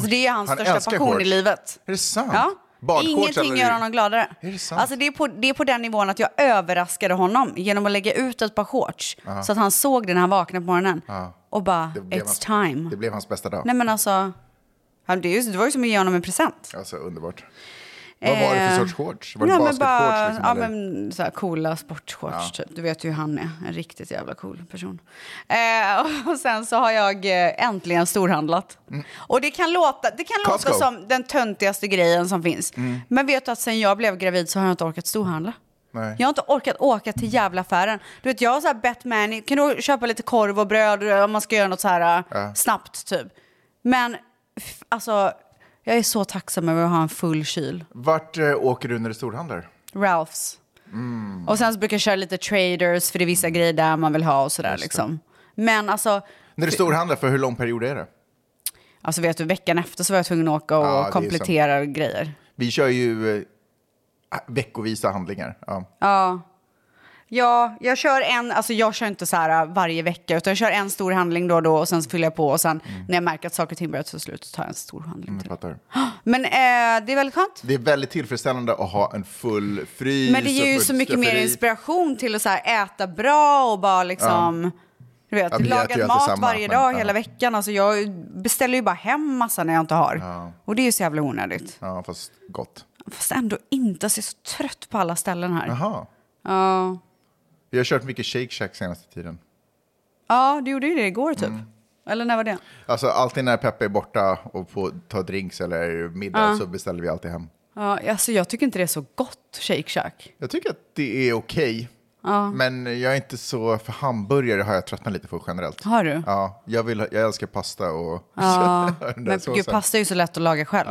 Speaker 5: så det är hans
Speaker 4: han
Speaker 5: största
Speaker 4: älskar
Speaker 5: passion
Speaker 4: shorts.
Speaker 5: i livet.
Speaker 4: Är det sant?
Speaker 5: Ja.
Speaker 4: Badshorts
Speaker 5: Ingenting
Speaker 4: eller-
Speaker 5: gör honom gladare.
Speaker 4: Är det sant?
Speaker 5: Alltså det, är på, det är på den nivån att jag överraskade honom genom att lägga ut ett par shorts. Så att han såg det när han vaknade på morgonen. Och bara,
Speaker 4: Det blev
Speaker 5: it's
Speaker 4: hans-
Speaker 5: time.
Speaker 4: Det blev hans bästa dag.
Speaker 5: Nej men alltså, han- det är ju- det var ju som att ge honom en present.
Speaker 4: Alltså underbart. Vad var det för
Speaker 5: Eh,
Speaker 4: sorts shorts? Var det
Speaker 5: nej, men bara-
Speaker 4: basketshorts? Liksom,
Speaker 5: ja,
Speaker 4: eller?
Speaker 5: men så här coola sportshorts. Typ. Du vet ju hur han är. En riktigt jävla cool person. Eh, <laughs> och sen så har jag eh, äntligen storhandlat. Och det kan, låta, det kan låta
Speaker 4: Mm. Costco. Mm.
Speaker 5: som den töntigaste grejen som finns. Men vet du att sen jag blev gravid så har jag inte orkat storhandla.
Speaker 4: Nej.
Speaker 5: Jag har inte orkat åka till jävla affären. Du vet, jag har så här bett Manny, kan du köpa lite korv och bröd eh, om man ska göra något så här eh, snabbt typ. Men f- alltså, jag är så tacksam över att ha en full kyl.
Speaker 4: Vart eh, åker du när du storhandlar?
Speaker 5: Ralphs. Och sen så brukar jag köra lite traders för det är
Speaker 4: Mm.
Speaker 5: vissa grejer där man vill ha och sådär liksom. Men alltså,
Speaker 4: När du storhandlar, för hur lång period är det?
Speaker 5: alltså vet du, veckan efter så var jag tvungen att åka och
Speaker 4: Ja, det är sant.
Speaker 5: komplettera grejer.
Speaker 4: Vi kör ju eh, veckovisa handlingar. Ja.
Speaker 5: Ja, jag kör en, alltså jag kör inte så här varje vecka utan jag kör en stor handling då och då och sen så fyller jag på och sen när jag märker att saker och ting börjar ta slut så tar jag en stor handling
Speaker 4: Mm. Jag
Speaker 5: till.
Speaker 4: fattar.
Speaker 5: Men eh, det är väldigt skönt.
Speaker 4: Det är väldigt tillfredsställande att ha en full frys.
Speaker 5: Men det ger ju
Speaker 4: och full
Speaker 5: så mycket mer
Speaker 4: skafferi.
Speaker 5: inspiration till att så här äta bra och bara liksom... Du vet,
Speaker 4: Ja, vi äter ju
Speaker 5: lagat
Speaker 4: alltid
Speaker 5: mat
Speaker 4: samma,
Speaker 5: varje
Speaker 4: men,
Speaker 5: dag
Speaker 4: ja.
Speaker 5: hela veckan. Alltså jag beställer ju bara hem massa när jag inte har. Och det är ju så jävla onödigt.
Speaker 4: Ja, fast gott.
Speaker 5: Ja, Fast ändå inte. Alltså, jag är så trött på alla ställen här.
Speaker 4: Jaha.
Speaker 5: Ja.
Speaker 4: Jag har kört mycket Shake Shack senaste tiden.
Speaker 5: Ja, du gjorde ju det igår typ.
Speaker 4: Mm.
Speaker 5: Eller när var det?
Speaker 4: Alltså alltid när Peppe är borta och får ta drinks eller middag så beställer vi alltid hem.
Speaker 5: Ja, alltså, jag tycker inte det är så gott, Shake Shack.
Speaker 4: Jag tycker att det är okej. Men jag är inte så, för hamburgare har jag tröttnat lite på generellt.
Speaker 5: Har du?
Speaker 4: Ja, jag, vill, jag älskar pasta och <laughs> den där
Speaker 5: Men gud,
Speaker 4: såsen.
Speaker 5: pasta är ju så lätt att laga själv.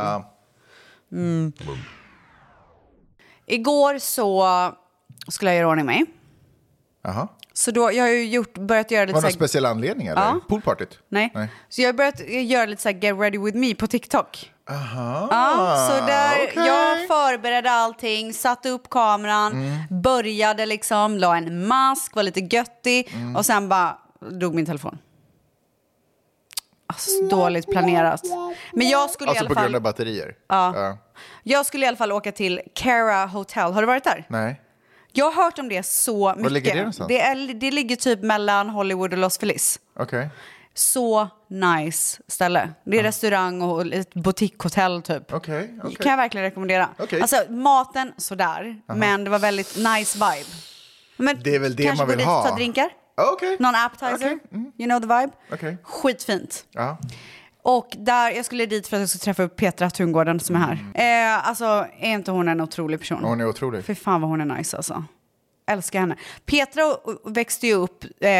Speaker 5: Mm.
Speaker 4: Ja.
Speaker 5: Igår så skulle jag göra ordning mig.
Speaker 4: Jaha.
Speaker 5: Så då, jag har ju gjort, börjat göra lite
Speaker 4: Var det någon
Speaker 5: såhär,
Speaker 4: speciell anledning eller?
Speaker 5: Ja.
Speaker 4: Poolpartyt?
Speaker 5: nej.
Speaker 4: Nej.
Speaker 5: Så jag har börjat göra lite såhär get ready with me på TikTok. Aha, ja, så där,
Speaker 4: okej.
Speaker 5: jag förberedde allting, satte upp kameran,
Speaker 4: Mm.
Speaker 5: började liksom, la en mask, var lite göttig
Speaker 4: Mm.
Speaker 5: och sen bara dog min telefon. Alltså, så dåligt planerat. Men jag skulle i
Speaker 4: Alltså
Speaker 5: alla
Speaker 4: på
Speaker 5: fall...
Speaker 4: grund av batterier? Ja.
Speaker 5: Jag skulle i alla fall åka till Cara Hotel. Har du varit där?
Speaker 4: Nej.
Speaker 5: Jag har hört om det så mycket.
Speaker 4: ligger det någonstans?
Speaker 5: Det, är, det ligger typ mellan Hollywood och Los Feliz.
Speaker 4: Okej.
Speaker 5: Så nice ställe. Det är restaurang och ett boutiquehotell typ.
Speaker 4: Okej, okej.
Speaker 5: Kan jag verkligen rekommendera.
Speaker 4: Okej.
Speaker 5: Alltså maten sådär, men det var väldigt nice vibe. Men
Speaker 4: Det är väl det
Speaker 5: kanske
Speaker 4: man
Speaker 5: gå
Speaker 4: vill
Speaker 5: dit och
Speaker 4: ha.
Speaker 5: ta drinkar?
Speaker 4: Okej.
Speaker 5: Någon appetizer?
Speaker 4: Okej, mm.
Speaker 5: You know the vibe?
Speaker 4: Okej.
Speaker 5: Skitfint.
Speaker 4: Ja.
Speaker 5: Och där, jag skulle dit för att jag skulle träffa upp Petra Tungården som är här. Eh, alltså, är inte hon en otrolig person?
Speaker 4: Mm. Hon är otrolig.
Speaker 5: Fy fan vad hon är nice alltså. Älskar henne. Petra o- växte ju upp eh,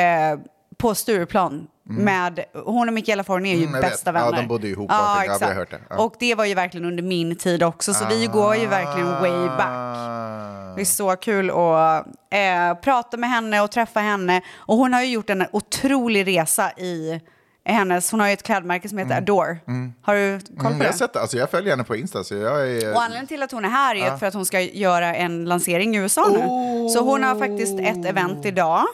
Speaker 5: på Stureplan. Med, hon och Michaela Forn är ju
Speaker 4: Mm, jag vet.
Speaker 5: bästa
Speaker 4: Ja,
Speaker 5: vänner.
Speaker 4: de bodde ju ihop och allting. Ja, vi har hört det. Ja.
Speaker 5: Och det var ju verkligen under min tid också, så vi går ju verkligen way
Speaker 4: Ah.
Speaker 5: back. Det är så kul att eh, prata med henne och träffa henne. Och hon har ju gjort en otrolig resa i hennes... Hon har ju ett klädmärke som heter Adore. Har du koll på
Speaker 4: Mm,
Speaker 5: det?
Speaker 4: jag har sett det. Alltså jag följer henne på Insta så jag är...
Speaker 5: Och anledningen till att hon är här är för att hon ska göra en lansering i USA nu. Så hon har faktiskt ett event idag.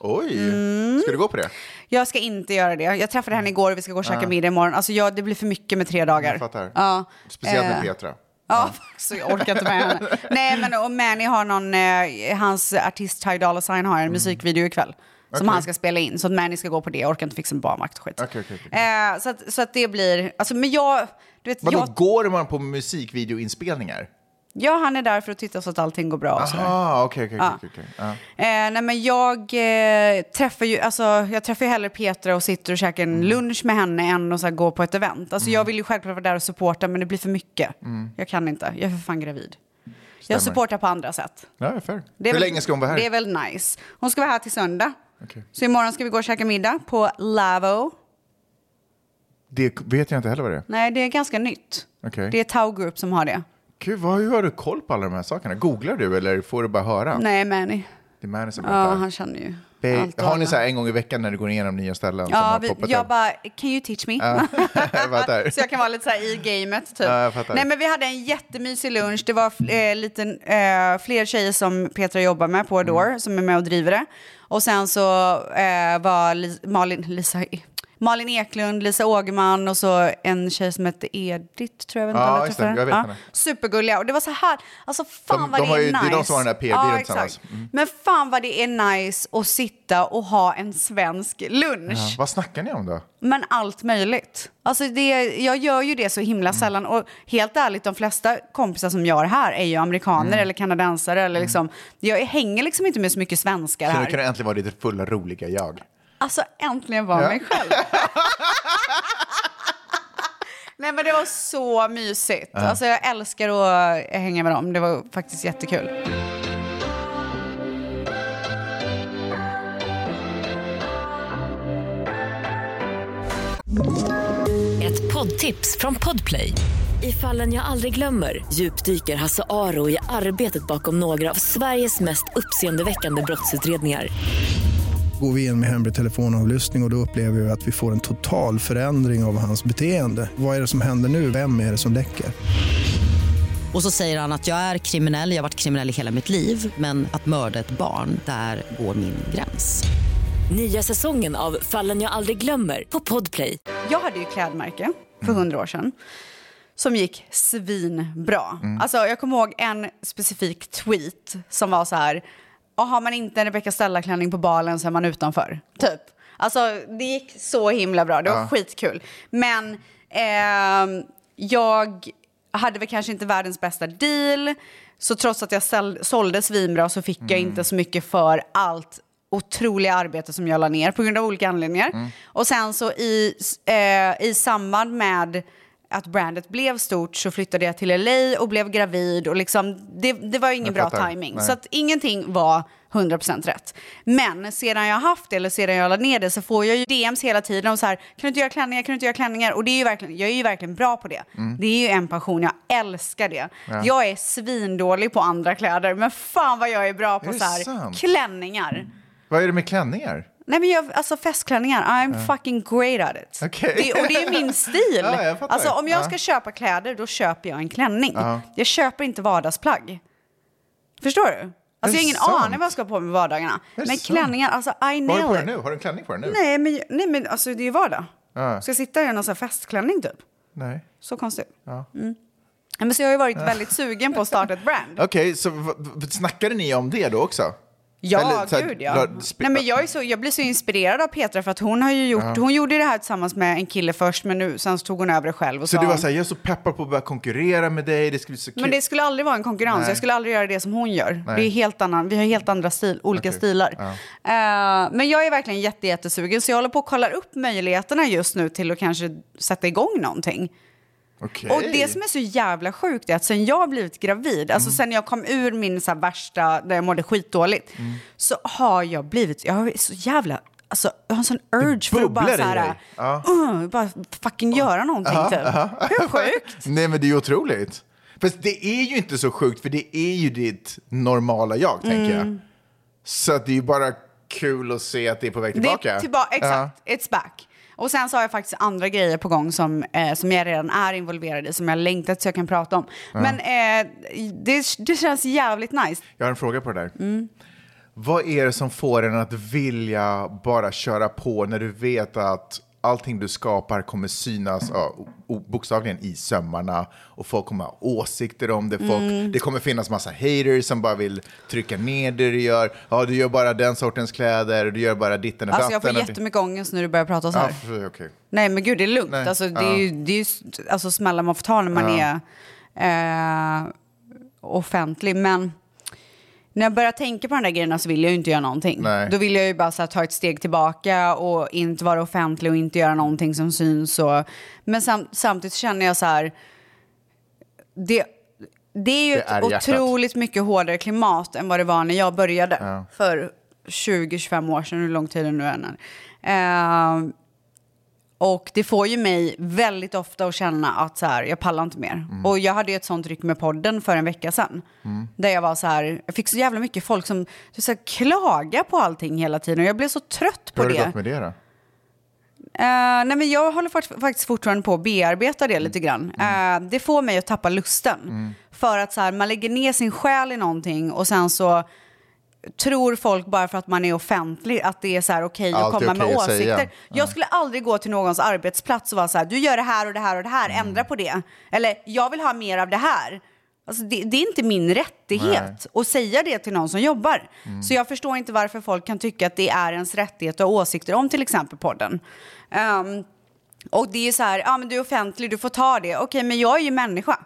Speaker 4: Oj!
Speaker 5: Mm.
Speaker 4: Ska du gå på det?
Speaker 5: Jag ska inte göra det. Jag träffade henne igår och vi ska gå och käka middag imorgon. Alltså jag, det blir för mycket med tre dagar.
Speaker 4: Jag fattar.
Speaker 5: Ja.
Speaker 4: Speciellt med
Speaker 5: Eh,
Speaker 4: Petra.
Speaker 5: Ja, <laughs> så jag orkar inte med
Speaker 4: <laughs>
Speaker 5: henne. Nej, men och Manny har någon, eh, hans artist Ty Dolla Sign har en musikvideo ikväll. Som
Speaker 4: Mm. Okej.
Speaker 5: han ska spela in. Så att Manny ska gå på det. Jag orkar inte fixa en barnvakt och skit.
Speaker 4: Okej, okej,
Speaker 5: Eh, så, att, så att det blir, alltså men jag, du vet,
Speaker 4: Vadå,
Speaker 5: jag,
Speaker 4: går man på musikvideoinspelningar?
Speaker 5: ja han är där för att titta så att allting går bra och sådär.
Speaker 4: Jaha, okej, okej, okej, okej. Ja.
Speaker 5: Eh, nej men jag eh, träffar ju, alltså jag träffar ju hellre Petra och sitter och käkar
Speaker 4: Mm.
Speaker 5: en lunch med henne än att så här, gå på ett event. Alltså jag vill ju självklart vara där och supporta men det blir för mycket.
Speaker 4: Mm.
Speaker 5: Jag kan inte, jag är för fan gravid. Jag supportar på andra sätt.
Speaker 4: Ja, fair.
Speaker 5: Det
Speaker 4: Hur
Speaker 5: är väl-
Speaker 4: länge ska hon vara här?
Speaker 5: Det är väl nice. Hon ska vara här till söndag.
Speaker 4: Okej.
Speaker 5: Så imorgon ska vi gå och käka middag på Lavo.
Speaker 4: Det vet jag inte heller vad det är.
Speaker 5: Nej, det är ganska nytt.
Speaker 4: Okej.
Speaker 5: Det är Tau Group som har det.
Speaker 4: Gud, vad, hur har du koll på alla de här sakerna? Googlar du eller får du bara höra?
Speaker 5: Nej, Manny.
Speaker 4: Det är Mani som
Speaker 5: Ja,
Speaker 4: berättar.
Speaker 5: han känner ju
Speaker 4: Be-
Speaker 5: allt och
Speaker 4: Har ni
Speaker 5: alla.
Speaker 4: så här en gång i veckan när du går igenom nya ställen som
Speaker 5: Ja,
Speaker 4: har
Speaker 5: vi,
Speaker 4: poppat
Speaker 5: jag
Speaker 4: upp? <laughs>
Speaker 5: bara, can you teach me? <laughs>
Speaker 4: Jag fattar.
Speaker 5: så jag kan vara lite så här i gamet typ.
Speaker 4: Ja, jag fattar.
Speaker 5: Nej men vi hade en jättemysig lunch. Det var eh, lite, eh, fler tjejer som Petra jobbar med på Adore
Speaker 4: Mm.
Speaker 5: som är med och driver det. Och sen så eh, var Li- Malin, Lisa, Malin Eklund, Lisa Ågerman och så en tjej som hette Edith tror jag. Vet inte
Speaker 4: Ja,
Speaker 5: om jag
Speaker 4: just
Speaker 5: träffade
Speaker 4: det. Jag vet
Speaker 5: henne.
Speaker 4: henne.
Speaker 5: Supergulliga. Och det var så här, alltså fan
Speaker 4: De-
Speaker 5: vad
Speaker 4: de
Speaker 5: det
Speaker 4: har
Speaker 5: är
Speaker 4: ju- det
Speaker 5: nice.
Speaker 4: är de som har den här PR-byrån
Speaker 5: ja,
Speaker 4: tillsammans. Mm.
Speaker 5: exakt. Men fan vad det är nice att sitta och ha en svensk lunch.
Speaker 4: Ja, Vad snackar ni om då?
Speaker 5: Men allt möjligt. Alltså det, jag gör ju det så himla
Speaker 4: Mm.
Speaker 5: sällan. Och helt ärligt, de flesta kompisar som jag har här är ju amerikaner
Speaker 4: Mm.
Speaker 5: eller kanadensare. Eller liksom, jag hänger liksom inte med så mycket svenskar
Speaker 4: Så nu kan
Speaker 5: här.
Speaker 4: du äntligen vara ditt fulla roliga jag.
Speaker 5: Alltså äntligen vara mig själv. <laughs> Nej men det var så mysigt. Alltså jag älskar att hänga med dem. Det var faktiskt jättekul.
Speaker 7: Ett poddtips från Podplay. I fallen jag aldrig glömmer djupdyker Hasse Aro i arbetet bakom några av Sveriges mest uppseendeväckande brottsutredningar.
Speaker 8: Går vi in med hemlig telefonavlyssning och, och då upplever vi att vi får en total förändring av hans beteende. Vad är det som händer nu? Vem är det som läcker?
Speaker 9: Och så säger han att jag är kriminell, jag har varit kriminell i hela mitt liv men att mörda ett barn, där går min gräns.
Speaker 7: Nya säsongen av Fallen jag aldrig glömmer på Podplay.
Speaker 5: Jag hade ju klädmärke för hundra år sedan som gick svinbra. Alltså, jag kommer ihåg en specifik tweet som var så här, "Ja, har man inte en Rebecca Stella-klänning på balen så är man utanför. Typ. Alltså det gick så himla bra, det var skitkul. Men ehm, jag hade väl kanske inte världens bästa deal. Så trots att jag säl- sålde svinbra så fick jag inte så mycket för allt otroliga arbete som jag la ner på grund av olika anledningar. Och sen så i, eh, i samband med att brandet blev stort så flyttade jag till LA och blev gravid och liksom, det, det var ingen
Speaker 4: Jag
Speaker 5: bra
Speaker 4: fattar.
Speaker 5: timing.
Speaker 4: Nej.
Speaker 5: Så att ingenting var 100% rätt. Men sedan jag haft det eller sedan jag la ner det så får jag ju DMs hela tiden och så här, kan du inte göra klänningar, kan du inte göra klänningar? Och det är ju verkligen, jag är ju verkligen bra på det.
Speaker 4: Mm.
Speaker 5: Det är ju en passion, jag älskar det. Jag är svindålig på andra kläder, men fan vad jag är bra på
Speaker 4: Är det
Speaker 5: så här,
Speaker 4: sant?
Speaker 5: klänningar.
Speaker 4: Vad är det med klänningar?
Speaker 5: Nej men jag, alltså festklänningar, I'm fucking great at it.
Speaker 4: Okej.
Speaker 5: Det, och det
Speaker 4: <laughs>
Speaker 5: är min stil.
Speaker 4: Ja, jag fattar.
Speaker 5: alltså om jag
Speaker 4: Ja.
Speaker 5: ska köpa kläder då köper jag en klänning. Jag köper inte vardagsplagg. Förstår du? Alltså jag har ingen
Speaker 4: sant?
Speaker 5: aning vad jag ska ha på mig på vardagarna. Men
Speaker 4: sant?
Speaker 5: klänningar, alltså I
Speaker 4: Vad har du på
Speaker 5: know
Speaker 4: dig
Speaker 5: it.
Speaker 4: nu? Har du en klänning på dig nu?
Speaker 5: Nej men, nej men alltså det är ju vardag.
Speaker 4: Ja.
Speaker 5: Ska jag sitta i någon sån här festklänning typ?
Speaker 4: Nej.
Speaker 5: Så konstigt. Mm. Ja, Men så jag har ju varit väldigt sugen på att starta ett brand.
Speaker 4: Okej, så v- v- snackade ni om det då också?
Speaker 5: Ja,
Speaker 4: Eller så här,
Speaker 5: gud ja.
Speaker 4: la- sp-
Speaker 5: Nej, men jag, är så, jag blir så inspirerad av Petra för att hon har ju gjort, hon gjorde ju det här tillsammans med en kille först men nu, sen så tog hon över det själv och
Speaker 4: Så
Speaker 5: sa,
Speaker 4: du var så här, jag är så peppad på att börja konkurrera med dig, det ska bli så kul.
Speaker 5: men det skulle aldrig vara en konkurrens,
Speaker 4: Nej.
Speaker 5: jag skulle aldrig göra det som hon gör.
Speaker 4: Nej.
Speaker 5: Det är helt annan, vi har helt andra stil, olika
Speaker 4: Okej.
Speaker 5: stilar.
Speaker 4: Ja.
Speaker 5: Eh, men jag är verkligen jätte, jättesugen så jag håller på och kollar upp möjligheterna just nu till att kanske sätta igång någonting.
Speaker 4: Okej.
Speaker 5: Och det som är så jävla sjukt är att sen jag har blivit gravid, alltså
Speaker 4: Mm.
Speaker 5: sen jag kom ur min så här värsta, där jag mådde skitdåligt,
Speaker 4: Mm.
Speaker 5: så har jag blivit, jag har så jävla, alltså jag har en sån urge för att bara
Speaker 4: bubblar
Speaker 5: så
Speaker 4: i
Speaker 5: här,
Speaker 4: dig. Ja.
Speaker 5: "Ugh", bara fucking göra någonting typ. Hur sjukt?
Speaker 4: <laughs> Nej, men det är ju otroligt. Fast det är ju inte så sjukt, för det är ju ditt normala jag, tänker
Speaker 5: Mm.
Speaker 4: jag. Så att det är ju bara kul att se att det är på väg tillbaka.
Speaker 5: Det är tillba- exakt, it's back. Och sen så har jag faktiskt andra grejer på gång som, eh, som jag redan är involverad i, som jag längtat så jag kan prata om. Men eh, det, det känns jävligt nice.
Speaker 4: Jag har en fråga på det där.
Speaker 5: Mm.
Speaker 4: Vad är det som får en att vilja bara köra på när du vet att allting du skapar kommer synas ja, o- o- bokstavligen i sömmarna och folk kommer ha åsikter om det. Folk,
Speaker 5: Mm.
Speaker 4: Det kommer finnas massa haters som bara vill trycka ner det du gör. Ja, du gör bara den sortens kläder, du gör bara ditten och
Speaker 5: Alltså jag får
Speaker 4: datten och det-
Speaker 5: jättemycket ångest när du börjar prata så
Speaker 4: Ja,
Speaker 5: här.
Speaker 4: för- okej.
Speaker 5: Nej men gud det är lugnt.
Speaker 4: Nej,
Speaker 5: Alltså, det
Speaker 4: ja.
Speaker 5: är ju, det är ju alltså, smällar man får ta när man är eh, offentlig. Men när jag börjar tänka på de där grejerna så vill jag ju inte göra någonting.
Speaker 4: Nej.
Speaker 5: Då vill jag ju bara så här, ta ett steg tillbaka och inte vara offentlig och inte göra någonting som syns. Och, men sam, samtidigt känner jag så här, det, det är ju
Speaker 4: Det är
Speaker 5: ett
Speaker 4: i hjärtat.
Speaker 5: otroligt mycket hårdare klimat än vad det var när jag började för 20-25 år sedan, hur lång tid det nu än är. Eh, och det får ju mig väldigt ofta att känna att så här, jag pallar inte mer.
Speaker 4: Mm.
Speaker 5: Och jag hade ju ett sånt ryck med podden för en vecka sedan. Där jag var så här, jag fick så jävla mycket folk som så här, klaga på allting hela tiden. Och jag blev så trött på
Speaker 4: Hur har
Speaker 5: det.
Speaker 4: det gått med det då?
Speaker 5: Eh, nej men jag håller fort- faktiskt fortfarande på att bearbeta
Speaker 4: Mm.
Speaker 5: det lite grann. Eh, det får mig att tappa lusten. För att så här, man lägger ner sin själ i någonting och sen så tror folk bara för att man är offentlig att det är så här okej att
Speaker 4: Allt är
Speaker 5: komma med
Speaker 4: okej att
Speaker 5: åsikter.
Speaker 4: säga.
Speaker 5: Jag skulle aldrig gå till någons arbetsplats och vara så här, du gör det här och det här och det här,
Speaker 4: Mm.
Speaker 5: ändra på det. Eller jag vill ha mer av det här. Alltså, det, det är inte min rättighet att säga det till någon som jobbar.
Speaker 4: Mm.
Speaker 5: Så jag förstår inte varför folk kan tycka att det är ens rättighet att ha åsikter om till exempel podden. Ehm, och det är så här, ja men du är offentlig, du får ta det. Okej, men jag är ju människa.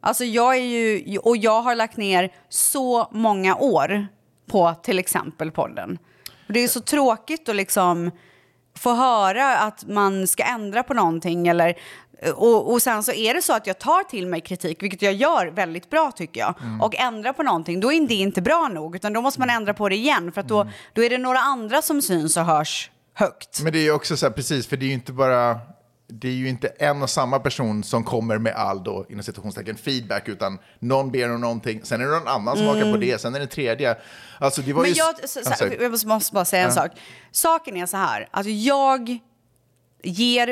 Speaker 5: Alltså jag är ju, och jag har lagt ner så många år på till exempel podden. Och det är så tråkigt att liksom få höra att man ska ändra på någonting eller och, och sen så är det så att jag tar till mig kritik, vilket jag gör väldigt bra tycker jag, och ändrar på någonting, då är det inte bra nog, utan då måste man ändra på det igen, för att då, då är det några andra som syns och hörs högt.
Speaker 4: Men det är ju också så här, precis, för det är ju inte bara... Det är ju inte en och samma person som kommer med all då, inom citationstecken, feedback, utan någon ber om någonting, sen är det någon annan som hakar på det, sen är det tredje. Alltså det var
Speaker 5: Mm. Men
Speaker 4: ju... alltså-
Speaker 5: jag, så,
Speaker 4: Ja,
Speaker 5: så,
Speaker 4: sorry.
Speaker 5: jag måste- måste bara säga en sak. Saken är så här, att jag ger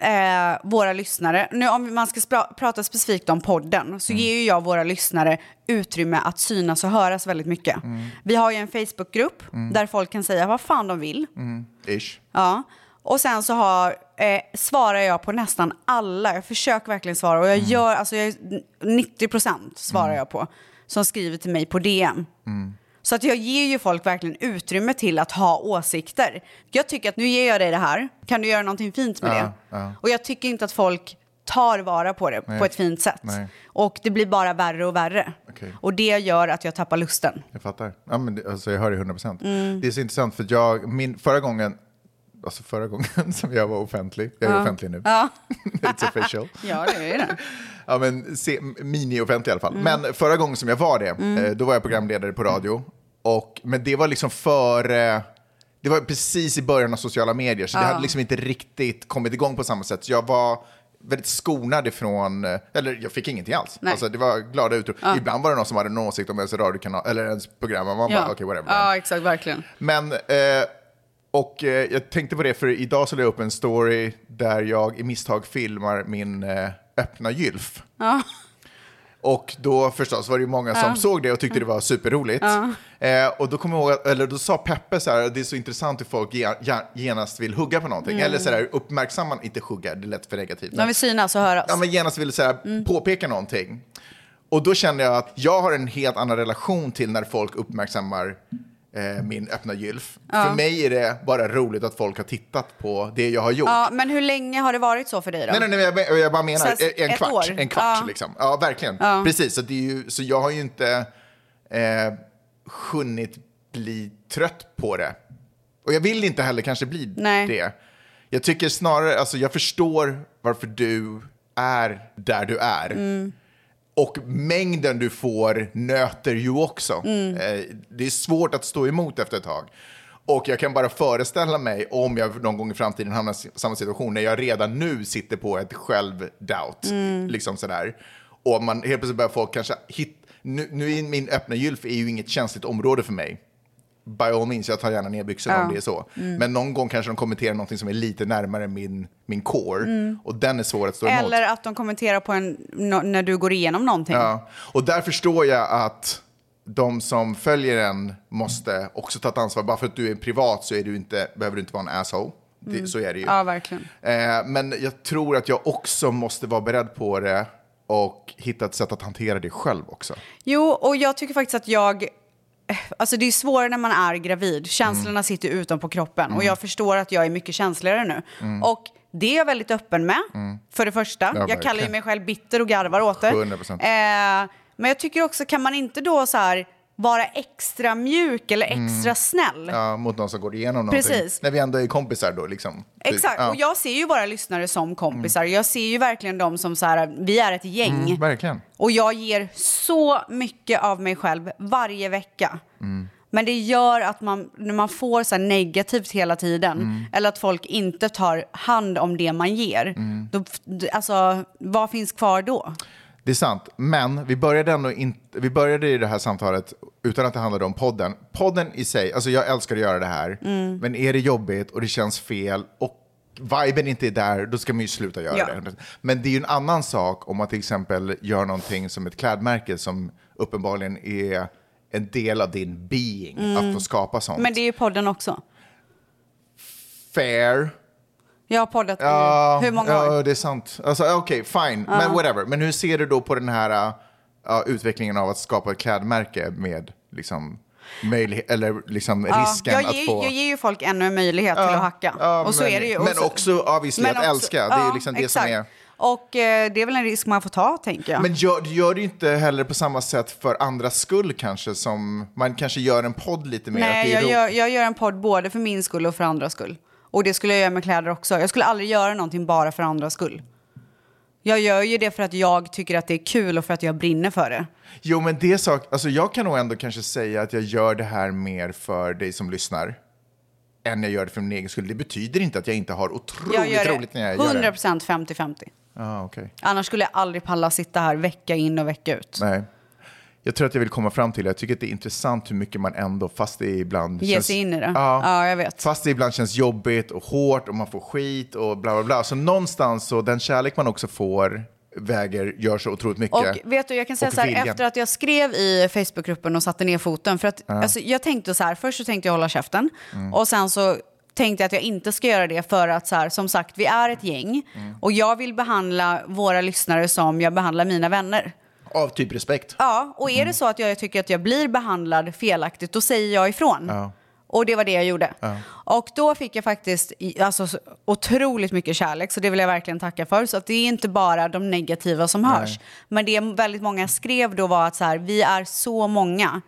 Speaker 5: eh, våra lyssnare, nu om man ska spra- prata specifikt om podden,
Speaker 4: Mm.
Speaker 5: så ger ju jag våra lyssnare utrymme att synas och höras väldigt mycket.
Speaker 4: Mm.
Speaker 5: Vi har ju en Facebookgrupp där folk kan säga vad fan de vill. Mm.
Speaker 4: Ish.
Speaker 5: Ja. Och sen så har, eh, svarar jag på nästan alla. Jag försöker verkligen svara. Och jag
Speaker 4: Mm.
Speaker 5: gör, alltså jag, är- 90% svarar jag på. Som skriver till mig på DM.
Speaker 4: Mm.
Speaker 5: Så att jag ger ju folk verkligen utrymme till att ha åsikter. Jag tycker att nu ger jag dig det här. Kan du göra någonting fint med det? Och jag tycker inte att folk tar vara på det
Speaker 4: Nej.
Speaker 5: på ett fint sätt.
Speaker 4: Nej.
Speaker 5: Och det blir bara värre och värre.
Speaker 4: Okej.
Speaker 5: Och det gör att jag tappar lusten.
Speaker 4: Jag fattar. Ja, men det, alltså, jag hör det 100 procent.
Speaker 5: Mm.
Speaker 4: Det är så intressant för jag, min, förra gången, alltså förra gången <laughs> som jag var offentlig, jag är offentlig nu, <laughs> it's official.
Speaker 5: Ja,
Speaker 4: <laughs>
Speaker 5: det är det.
Speaker 4: Ja, men se, mini-offentlig i alla fall.
Speaker 5: Mm.
Speaker 4: Men förra gången som jag var det, eh, då var jag programledare på radio. Och, men det var liksom före... Det var precis i början av sociala medier, så det hade liksom inte riktigt kommit igång på samma sätt. Så jag var väldigt skonad ifrån, eh, eller jag fick ingenting alls.
Speaker 5: Nej.
Speaker 4: Alltså, det var glada utrop. Ibland var det någon som hade någon åsikt om ens radiokanal, eller ens program. och Man bara, okej, whatever.
Speaker 5: ja, exakt, verkligen.
Speaker 4: Men, eh, och eh, jag tänkte på det för idag så la jag upp en story där jag i misstag filmar min eh, öppna gylf. Och då förstås var det ju många som såg det och tyckte det var superroligt. Eh, och då kommer jag ihåg, att- eller då sa Peppe så här, det är så intressant hur folk ge- ge- genast vill hugga på någonting. Eller så här, uppmärksamma, inte hugga, det lät för negativt.
Speaker 5: De vill synas och höras.
Speaker 4: Ja, men genast ville så här,
Speaker 5: Mm.
Speaker 4: påpeka någonting. Och då kände jag att jag har en helt annan relation till när folk uppmärksammar eh, min öppna gylf. För mig är det bara roligt att folk har tittat på det jag har gjort.
Speaker 5: Ja, men hur länge har det varit så för dig då?
Speaker 4: Nej, nej, nej, jag, jag bara menar
Speaker 5: Så här,
Speaker 4: en
Speaker 5: ett
Speaker 4: kvart.
Speaker 5: år?
Speaker 4: En kvart
Speaker 5: Ja.
Speaker 4: liksom. Ja, verkligen. Precis, så, det är ju, så jag har ju inte eh, hunnit bli trött på det. Och jag vill inte heller kanske bli
Speaker 5: Nej.
Speaker 4: det. Jag tycker snarare, alltså jag förstår varför du är där du är.
Speaker 5: Mm.
Speaker 4: Och mängden du får nöter ju också. Eh, Det är svårt att stå emot efter ett tag. Och jag kan bara föreställa mig om jag någon gång i framtiden hamnar i samma situation när jag redan nu sitter på ett självdoubt. Liksom sådär. Och man helt plötsligt börjar folk kanske hit, nu, nu är min öppna gylf är ju inget känsligt område för mig. By all means, jag tar gärna ner byxorna om det är så. Men någon gång kanske de kommenterar någonting som är lite närmare min, min core. Och den är svår att stå emot.
Speaker 5: Eller att de kommenterar på en nå- när du går igenom någonting.
Speaker 4: Ja, och där förstår jag att de som följer en måste också ta ett ansvar. Bara för att du är privat så är du inte, behöver du inte vara en asshole. Det, Så är det ju.
Speaker 5: Mm. Ja, verkligen.
Speaker 4: Eh, men jag tror att jag också måste vara beredd på det och hitta ett sätt att hantera det själv också.
Speaker 5: Jo, och jag tycker faktiskt att jag... Alltså det är svårare när man är gravid. Känslorna
Speaker 4: Mm.
Speaker 5: sitter utanpå kroppen. Och jag förstår att jag är mycket känsligare nu.
Speaker 4: Mm.
Speaker 5: Och det är jag väldigt öppen med, för det första. jag
Speaker 4: verkligen.
Speaker 5: kallar ju mig själv bitter och garvar åt det.
Speaker 4: 100%.
Speaker 5: Eh, men jag tycker också, kan man inte då så här vara extra mjuk eller
Speaker 4: Mm.
Speaker 5: extra snäll?
Speaker 4: Ja, mot någon som går igenom någonting.
Speaker 5: Precis.
Speaker 4: När vi ändå är kompisar då liksom. Typ.
Speaker 5: Exakt,
Speaker 4: Ja.
Speaker 5: och jag ser ju våra lyssnare som kompisar. Jag ser ju verkligen dem som så här, vi är ett gäng.
Speaker 4: Mm, verkligen.
Speaker 5: Och jag ger så mycket av mig själv varje vecka.
Speaker 4: Mm.
Speaker 5: Men det gör att man, när man får så här negativt hela tiden
Speaker 4: Mm.
Speaker 5: eller att folk inte tar hand om det man ger,
Speaker 4: Mm.
Speaker 5: då, alltså, vad finns kvar då?
Speaker 4: Det är sant, men vi började, ändå inte, vi började i det här samtalet utan att det handlade om podden. Podden i sig, alltså jag älskar att göra det här,
Speaker 5: Mm.
Speaker 4: men är det jobbigt och det känns fel och viben inte är där, då ska man ju sluta göra
Speaker 5: Ja.
Speaker 4: det. Men det är ju en annan sak om man till exempel gör någonting som ett klädmärke som uppenbarligen är en del av din being, att få skapa sånt.
Speaker 5: Mm. Men det är ju podden också.
Speaker 4: Fair.
Speaker 5: Jag har poddat i
Speaker 4: Ja,
Speaker 5: hur många
Speaker 4: ja,
Speaker 5: år?
Speaker 4: det är sant. Alltså, Okej, fine. Men whatever. Men hur ser du då på den här äh, ja, utvecklingen av att skapa ett klädmärke med liksom, möjlighet, eller liksom risken
Speaker 5: jag,
Speaker 4: att
Speaker 5: ger,
Speaker 4: få...
Speaker 5: jag ger ju folk ännu en möjlighet till att hacka.
Speaker 4: ja,
Speaker 5: och så
Speaker 4: men-
Speaker 5: är det ju. Och
Speaker 4: men
Speaker 5: så-
Speaker 4: också, ja, visst, att älska. Det är ju liksom det som är-
Speaker 5: Och eh, det är väl en risk man får ta, tänker jag.
Speaker 4: Men gör, du gör det ju inte heller på samma sätt för andras skull kanske som man kanske gör en podd lite mer. att
Speaker 5: Nej,
Speaker 4: det är
Speaker 5: jag
Speaker 4: ro-
Speaker 5: gör, jag gör en podd både för min skull och för andras skull. Och det skulle jag göra med kläder också. Jag skulle aldrig göra någonting bara för andras skull. Jag gör ju det för att jag tycker att det är kul och för att jag brinner för det.
Speaker 4: Jo, men det är sak, alltså jag kan nog ändå kanske säga att jag gör det här mer för dig som lyssnar än jag gör det för min egen skull. Det betyder inte att jag inte har otroligt
Speaker 5: Jag gör
Speaker 4: roligt när jag gör det.
Speaker 5: 100 procent 50-50.
Speaker 4: Ah, okej.
Speaker 5: Annars skulle jag aldrig palla sitta här vecka in och vecka ut.
Speaker 4: Nej. Jag tror att jag vill komma fram till, jag tycker att det är intressant hur mycket man ändå, fast det ibland
Speaker 5: Ge sig in i det.
Speaker 4: Ja.
Speaker 5: Ja, jag vet.
Speaker 4: Fast det ibland känns jobbigt och hårt och man får skit och bla bla bla. Så någonstans så den kärlek man också får väger, gör så otroligt mycket.
Speaker 5: Och vet du, jag kan säga
Speaker 4: Och
Speaker 5: så här,
Speaker 4: viljan.
Speaker 5: efter att jag skrev i Facebookgruppen och satte ner foten, för att alltså, jag tänkte så här, först så tänkte jag hålla käften
Speaker 4: Mm.
Speaker 5: och sen så tänkte jag att jag inte ska göra det för att så här, som sagt, vi är ett gäng
Speaker 4: Mm.
Speaker 5: och jag vill behandla våra lyssnare som jag behandlar mina vänner.
Speaker 4: Av typ respekt.
Speaker 5: Ja, och är det så att jag tycker att jag blir behandlad felaktigt, då säger jag ifrån. Och det var det jag gjorde. Och då fick jag faktiskt i- alltså, så otroligt mycket kärlek, så det vill jag verkligen tacka för. Så att det är inte bara de negativa som hörs. Men det väldigt många skrev då var att så här, vi är så många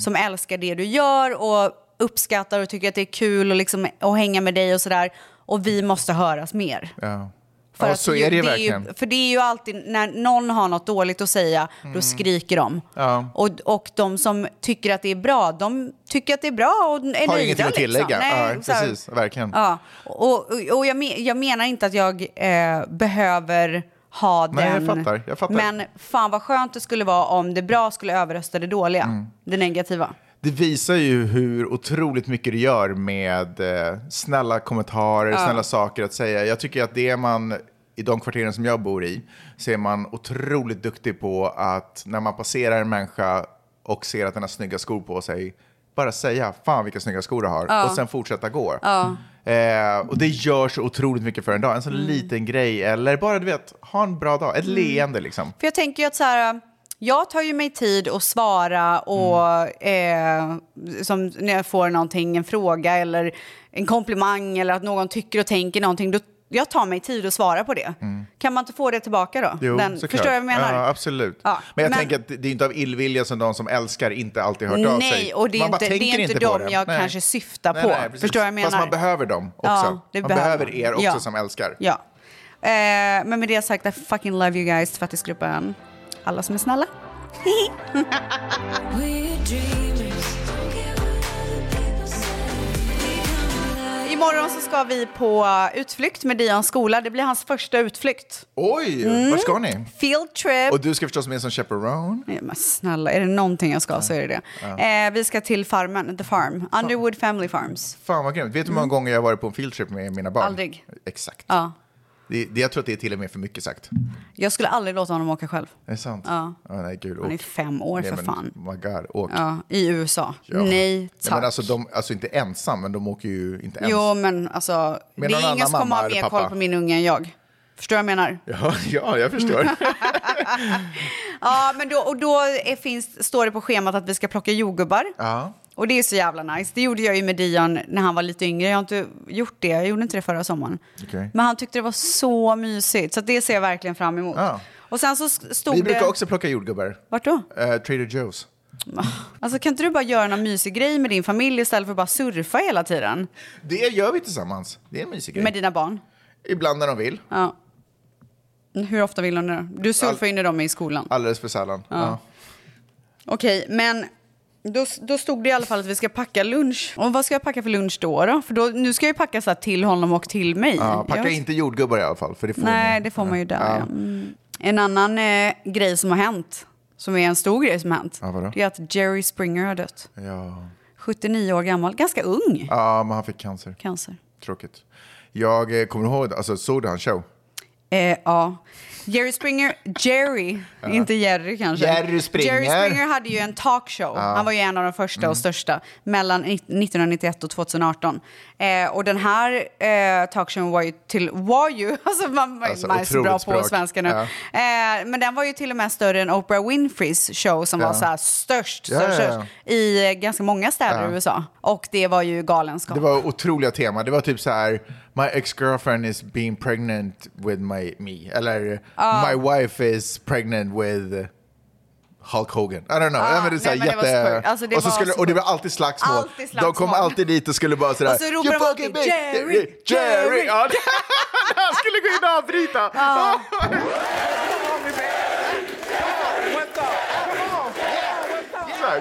Speaker 5: som älskar det du gör och uppskattar och tycker att det är kul och liksom, att hänga med dig och sådär. Och vi måste höras mer.
Speaker 4: Ja.
Speaker 5: För
Speaker 4: ja,
Speaker 5: att
Speaker 4: så
Speaker 5: ju-
Speaker 4: är det ju
Speaker 5: är ju-
Speaker 4: verkligen.
Speaker 5: För det är ju alltid när någon har något dåligt att säga, då skriker de.
Speaker 4: Mm. Ja.
Speaker 5: Och, och de som tycker att det är bra, de tycker att det är bra och är nöjda.
Speaker 4: Har ingenting att tillägga.
Speaker 5: Liksom.
Speaker 4: ja,
Speaker 5: så här-
Speaker 4: precis, verkligen.
Speaker 5: Ja. Och, och, och jag, men, jag menar inte att jag eh, behöver ha
Speaker 4: Nej, jag
Speaker 5: den...
Speaker 4: fattar, jag fattar.
Speaker 5: Men fan vad skönt det skulle vara om det bra skulle överrösta det dåliga,
Speaker 4: Mm.
Speaker 5: det negativa.
Speaker 4: Det visar ju hur otroligt mycket det gör med eh, snälla kommentarer, snälla saker att säga. Jag tycker att det är man, i de kvarteren som jag bor i, så är man otroligt duktig på att när man passerar en människa och ser att den har snygga skor på sig, bara säga fan vilka snygga skor du har och sen fortsätta gå. Eh, och det gör så otroligt mycket för en dag, en sån liten grej eller bara du vet, ha en bra dag, ett leende liksom.
Speaker 5: För jag tänker ju att så här, jag tar ju mig tid att svara och eh, som när jag får någonting, en fråga eller en komplimang eller att någon tycker och tänker någonting. Då, jag tar mig tid att svara på det. Kan man inte få det tillbaka då?
Speaker 4: Mm. Jo,
Speaker 5: Den,
Speaker 4: såklart.
Speaker 5: förstår du vad jag menar?
Speaker 4: Ja, absolut.
Speaker 5: Ja,
Speaker 4: men jag
Speaker 5: men-
Speaker 4: tänker att det det är inte av illvilja som de som älskar inte alltid hört av sig.
Speaker 5: Nej, och det är
Speaker 4: Man bara
Speaker 5: inte- det är
Speaker 4: tänker
Speaker 5: inte
Speaker 4: på
Speaker 5: dem
Speaker 4: det.
Speaker 5: jag kanske syftar på.
Speaker 4: precis.
Speaker 5: Förstår vad jag
Speaker 4: Fast
Speaker 5: menar?
Speaker 4: man behöver dem också.
Speaker 5: Ja, det
Speaker 4: man behöver
Speaker 5: behöver man.
Speaker 4: er också
Speaker 5: Ja.
Speaker 4: som älskar.
Speaker 5: Ja. Eh, men med det sagt, I fucking love you guys, tvättisgruppen. Alla som är snälla.
Speaker 6: We're dreamers. Don't care what other people say. We come alive.
Speaker 5: Imorgon så ska vi på utflykt med Dions skola. Det blir hans första utflykt.
Speaker 4: Oj, vart ska ni?
Speaker 5: Field trip.
Speaker 4: Och du ska förstås med som chaperone.
Speaker 5: Nej, men snälla, är det någonting jag ska så är det det. Eh, vi ska till farmen, The Farm, Underwood Family Farms.
Speaker 4: Fan vad grymt. Vet du hur många gånger jag har varit på en fieldtrip med mina barn?
Speaker 5: Mm. Aldrig.
Speaker 4: Exakt.
Speaker 5: Ja.
Speaker 4: Det, det, jag tror att det är till och med för mycket sagt.
Speaker 5: Jag skulle aldrig låta honom åka själv.
Speaker 4: Är det sant? Ja, nej, gud,
Speaker 5: Han är
Speaker 4: åk.
Speaker 5: fem år
Speaker 4: Nej,
Speaker 5: för
Speaker 4: men,
Speaker 5: fan.
Speaker 4: My God, åk.
Speaker 5: Ja, I USA.
Speaker 4: Ja.
Speaker 5: Nej
Speaker 4: Nej,
Speaker 5: tack.
Speaker 4: Men alltså, de, alltså inte ensam, men de åker ju inte ensam.
Speaker 5: Jo men alltså,
Speaker 4: Med
Speaker 5: det
Speaker 4: någon
Speaker 5: är
Speaker 4: annan
Speaker 5: ingen som kommer
Speaker 4: mamma
Speaker 5: ha
Speaker 4: eller
Speaker 5: mer
Speaker 4: pappa?
Speaker 5: koll på min unge än jag. Förstår vad jag menar? Ja,
Speaker 4: Ja, <laughs> ja, jag förstår.
Speaker 5: men då, och då är, finns, står det på schemat att vi ska plocka jordgubbar.
Speaker 4: ja.
Speaker 5: Och det är så jävla nice. Det gjorde jag ju med Dion när han var lite yngre. Jag har inte gjort det. Jag gjorde inte det förra sommaren.
Speaker 4: Okej.
Speaker 5: Men han tyckte det var så mysigt. Så att det ser jag verkligen fram emot.
Speaker 4: Ja.
Speaker 5: Och sen så s- stod
Speaker 4: Vi brukar
Speaker 5: det...
Speaker 4: också plocka jordgubbar.
Speaker 5: Vart då?
Speaker 4: Eh, Trader Joe's.
Speaker 5: <laughs> Alltså kan inte du bara göra någon mysig grej med din familj istället för att bara surfa hela tiden?
Speaker 4: Det gör vi tillsammans. Det är en mysig grej.
Speaker 5: Med dina barn?
Speaker 4: Ibland när de vill.
Speaker 5: Ja. Hur ofta vill hon det? Du surfar ju när de är i skolan.
Speaker 4: Alldeles för sällan. Ja.
Speaker 5: Okej, men då, då stod det i alla fall att vi ska packa lunch. Och vad ska jag packa för lunch då? då? För då, nu ska jag ju packa så här till honom och till mig.
Speaker 4: Ja, packa
Speaker 5: Jag-
Speaker 4: inte jordgubbar i alla fall, för det får
Speaker 5: Nej,
Speaker 4: ni.
Speaker 5: det får man ju där. Ja. Mm. En annan eh, grej som har hänt, som är en stor grej som har hänt,
Speaker 4: Ja, vadå?
Speaker 5: det är att Jerry Springer har dött.
Speaker 4: Ja.
Speaker 5: 79 år gammal, ganska ung.
Speaker 4: ja, men han fick cancer.
Speaker 5: Cancer.
Speaker 4: Tråkigt. Jag eh, kommer ihåg, alltså såg du hans show?
Speaker 5: Eh, ja. Jerry Springer, Jerry, inte Jerry kanske.
Speaker 4: Jerry Springer. Mm.
Speaker 5: Jerry Springer hade ju en talkshow. Han var ju en av de första och största mellan ni- 1991 och 2018. Eh, och den här eh, talkshowen var ju till, var ju, <laughs> alltså man,
Speaker 4: Alltså,
Speaker 5: man är så
Speaker 4: otroligt
Speaker 5: bra på
Speaker 4: språk.
Speaker 5: svenska nu.
Speaker 4: Ja.
Speaker 5: Eh, men den var ju till och med större än Oprah Winfreys show som
Speaker 4: Ja.
Speaker 5: var så här störst,
Speaker 4: Ja,
Speaker 5: störst,
Speaker 4: ja, ja.
Speaker 5: störst i eh, ganska många städer i USA. Och det var ju galenskap.
Speaker 4: Det var otroliga teman. Det var typ så här, my ex-girlfriend is being pregnant with my, me. Eller,
Speaker 5: Ah.
Speaker 4: my wife is pregnant with Hulk Hogan. I don't know.
Speaker 5: Ah,
Speaker 4: Ja, men det är så här,
Speaker 5: nej, men det var
Speaker 4: jätte...
Speaker 5: sjukt. Alltså, det
Speaker 4: och, så
Speaker 5: var
Speaker 4: skulle,
Speaker 5: så
Speaker 4: och det var
Speaker 5: sjukt.
Speaker 4: alltid slagsmål.
Speaker 5: Alltid slagsmål.
Speaker 4: De kom alltid dit och skulle bara sådär...
Speaker 5: Och så ropade
Speaker 4: "You
Speaker 5: de
Speaker 4: fucking
Speaker 5: alltid,
Speaker 4: bitch!
Speaker 5: "Jerry,
Speaker 4: Jerry!
Speaker 5: Jerry."
Speaker 4: Ja, <laughs> han skulle gå in och avbryta. Ah.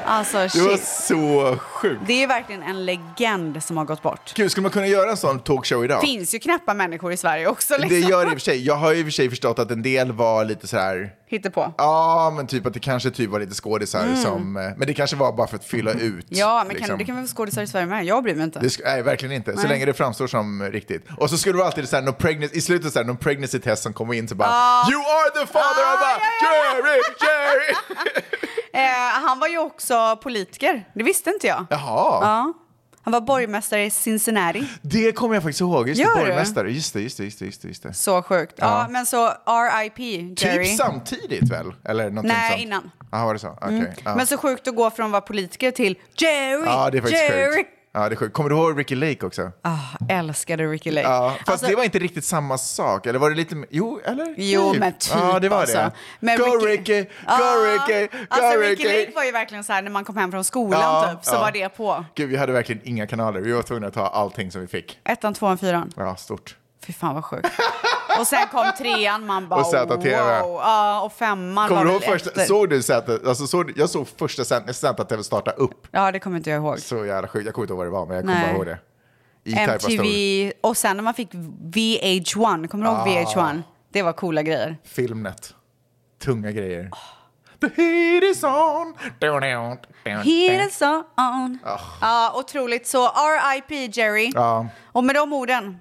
Speaker 5: Alltså,
Speaker 4: det var
Speaker 5: shit.
Speaker 4: så sjukt.
Speaker 5: Det är ju verkligen en legend som har gått bort.
Speaker 4: Gud, skulle man kunna göra en sån talkshow idag?
Speaker 5: finns ju knäppa människor i Sverige också. Liksom.
Speaker 4: Det gör det i och för sig. Jag har ju i och för sig förstått att en del var lite så här...
Speaker 5: Hittar på. Ja,
Speaker 4: Ja, men typ att det kanske typ var lite skådisar som... eh, Men det kanske var bara för att fylla ut.
Speaker 5: Mm. men
Speaker 4: liksom.
Speaker 5: kan, det kan väl skådisar i Sverige med? Jag bryr mig inte.
Speaker 4: Det sk- nej, verkligen inte. Så
Speaker 5: Nej.
Speaker 4: länge det framstår som riktigt. Och så skulle det vara alltid så här, någon pregnancy, i slutet så här, någon pregnancy test som kommer in så bara You are the father!
Speaker 5: Ah,
Speaker 4: och bara,
Speaker 5: ja, ja,
Speaker 4: Jerry, Jerry!
Speaker 5: <laughs> Eh, han var ju också politiker. Det visste inte jag.
Speaker 4: Jaha,
Speaker 5: Ja. Han var borgmästare i Cincinnati.
Speaker 4: det kommer jag faktiskt ihåg. Just det,
Speaker 5: Gör du?
Speaker 4: borgmästare. Just det, just det, just det. Just det, just det.
Speaker 5: Så sjukt. Ja, men så RIP, Jerry.
Speaker 4: Typ samtidigt väl? Eller någonting
Speaker 5: Nej,
Speaker 4: sånt.
Speaker 5: innan. Mm.
Speaker 4: Ja, var det så? Okej. ja.
Speaker 5: Men så sjukt att gå från att vara politiker till Jerry,
Speaker 4: Ja, det är faktiskt
Speaker 5: Jerry.
Speaker 4: sjukt. Ja, det är sjukt. Kommer du ihåg Ricky Lake också?
Speaker 5: Ah, älskade Ricky Lake.
Speaker 4: Ja, fast
Speaker 5: Alltså-
Speaker 4: det var inte riktigt samma sak. Eller var det lite... Jo, eller?
Speaker 5: Jo, men typ
Speaker 4: Ja, det var
Speaker 5: alltså.
Speaker 4: det.
Speaker 5: Men
Speaker 4: go Ricky, go Ricky, go
Speaker 5: Alltså Ricky
Speaker 4: Ricky.
Speaker 5: Lake var ju verkligen så här när man kom hem från skolan
Speaker 4: Ja,
Speaker 5: typ, så
Speaker 4: ja.
Speaker 5: var det på.
Speaker 4: Gud, vi hade verkligen inga kanaler. Vi var tvungna att ta allting som vi fick.
Speaker 5: Ettan, tvåan, fyran.
Speaker 4: Ja, stort.
Speaker 5: Fy fan vad sjukt. Och sen kom trean, man bara
Speaker 4: Och ZTV.
Speaker 5: wow. Ja, och femman
Speaker 4: Kommer
Speaker 5: var
Speaker 4: du ihåg
Speaker 5: väl
Speaker 4: första...
Speaker 5: efter.
Speaker 4: Såg du Zäta? Alltså, såg, du- jag såg första Zäta- Zäta-TV starta upp.
Speaker 5: Ja, det kommer inte jag ihåg.
Speaker 4: Så jävla sjukt. Jag kommer inte ihåg vad det var, men jag kommer
Speaker 5: Nej.
Speaker 4: bara ihåg det. typ E-Type var stor. Ah.
Speaker 5: MTV och sen när man fick VH1, kommer du ihåg VH1? Det var coola grejer.
Speaker 4: Filmnet. Tunga grejer. The heat is on.
Speaker 5: Heat is on. Ja, otroligt. Så RIP Jerry.
Speaker 4: Ah. Ja,
Speaker 5: Och med de orden,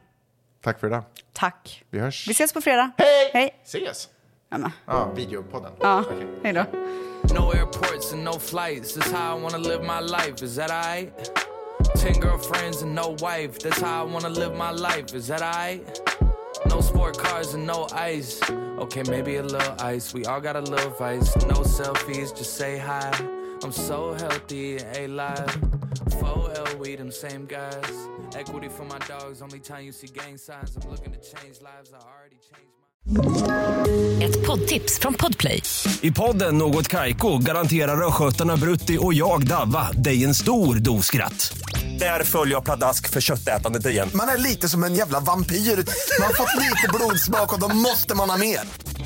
Speaker 4: tack för idag.
Speaker 5: tack.
Speaker 4: Vi hörs.
Speaker 5: Vi ses på fredag.
Speaker 4: Hej!
Speaker 5: Hej.
Speaker 4: Ses!
Speaker 5: Ja, men.
Speaker 4: Ja, videopodden.
Speaker 5: Ja,
Speaker 4: Okej.
Speaker 5: hej då.
Speaker 10: No airports and no flights. That's how I wanna live my life. Is that alright? Ten girlfriends and no wife. That's how I wanna live my life. Is that alright? No sport cars and no ice. Okay, maybe a little ice. We all got a little vice. No selfies, just say hi. I'm so healthy and alive. 4L, we them same guys. Equity for my dogs. Only time you see gang signs. I'm looking to change lives. I already changed mine.
Speaker 7: Ett poddtips från Podplay.
Speaker 11: I podden Något Kaiko garanterar östgötarna Brutti och jag, Davva, dig en stor dos skratt. Där följer jag pladask för köttätandet igen.
Speaker 12: Man är lite som en jävla vampyr. Man har fått lite blodsmak och då måste man ha mer.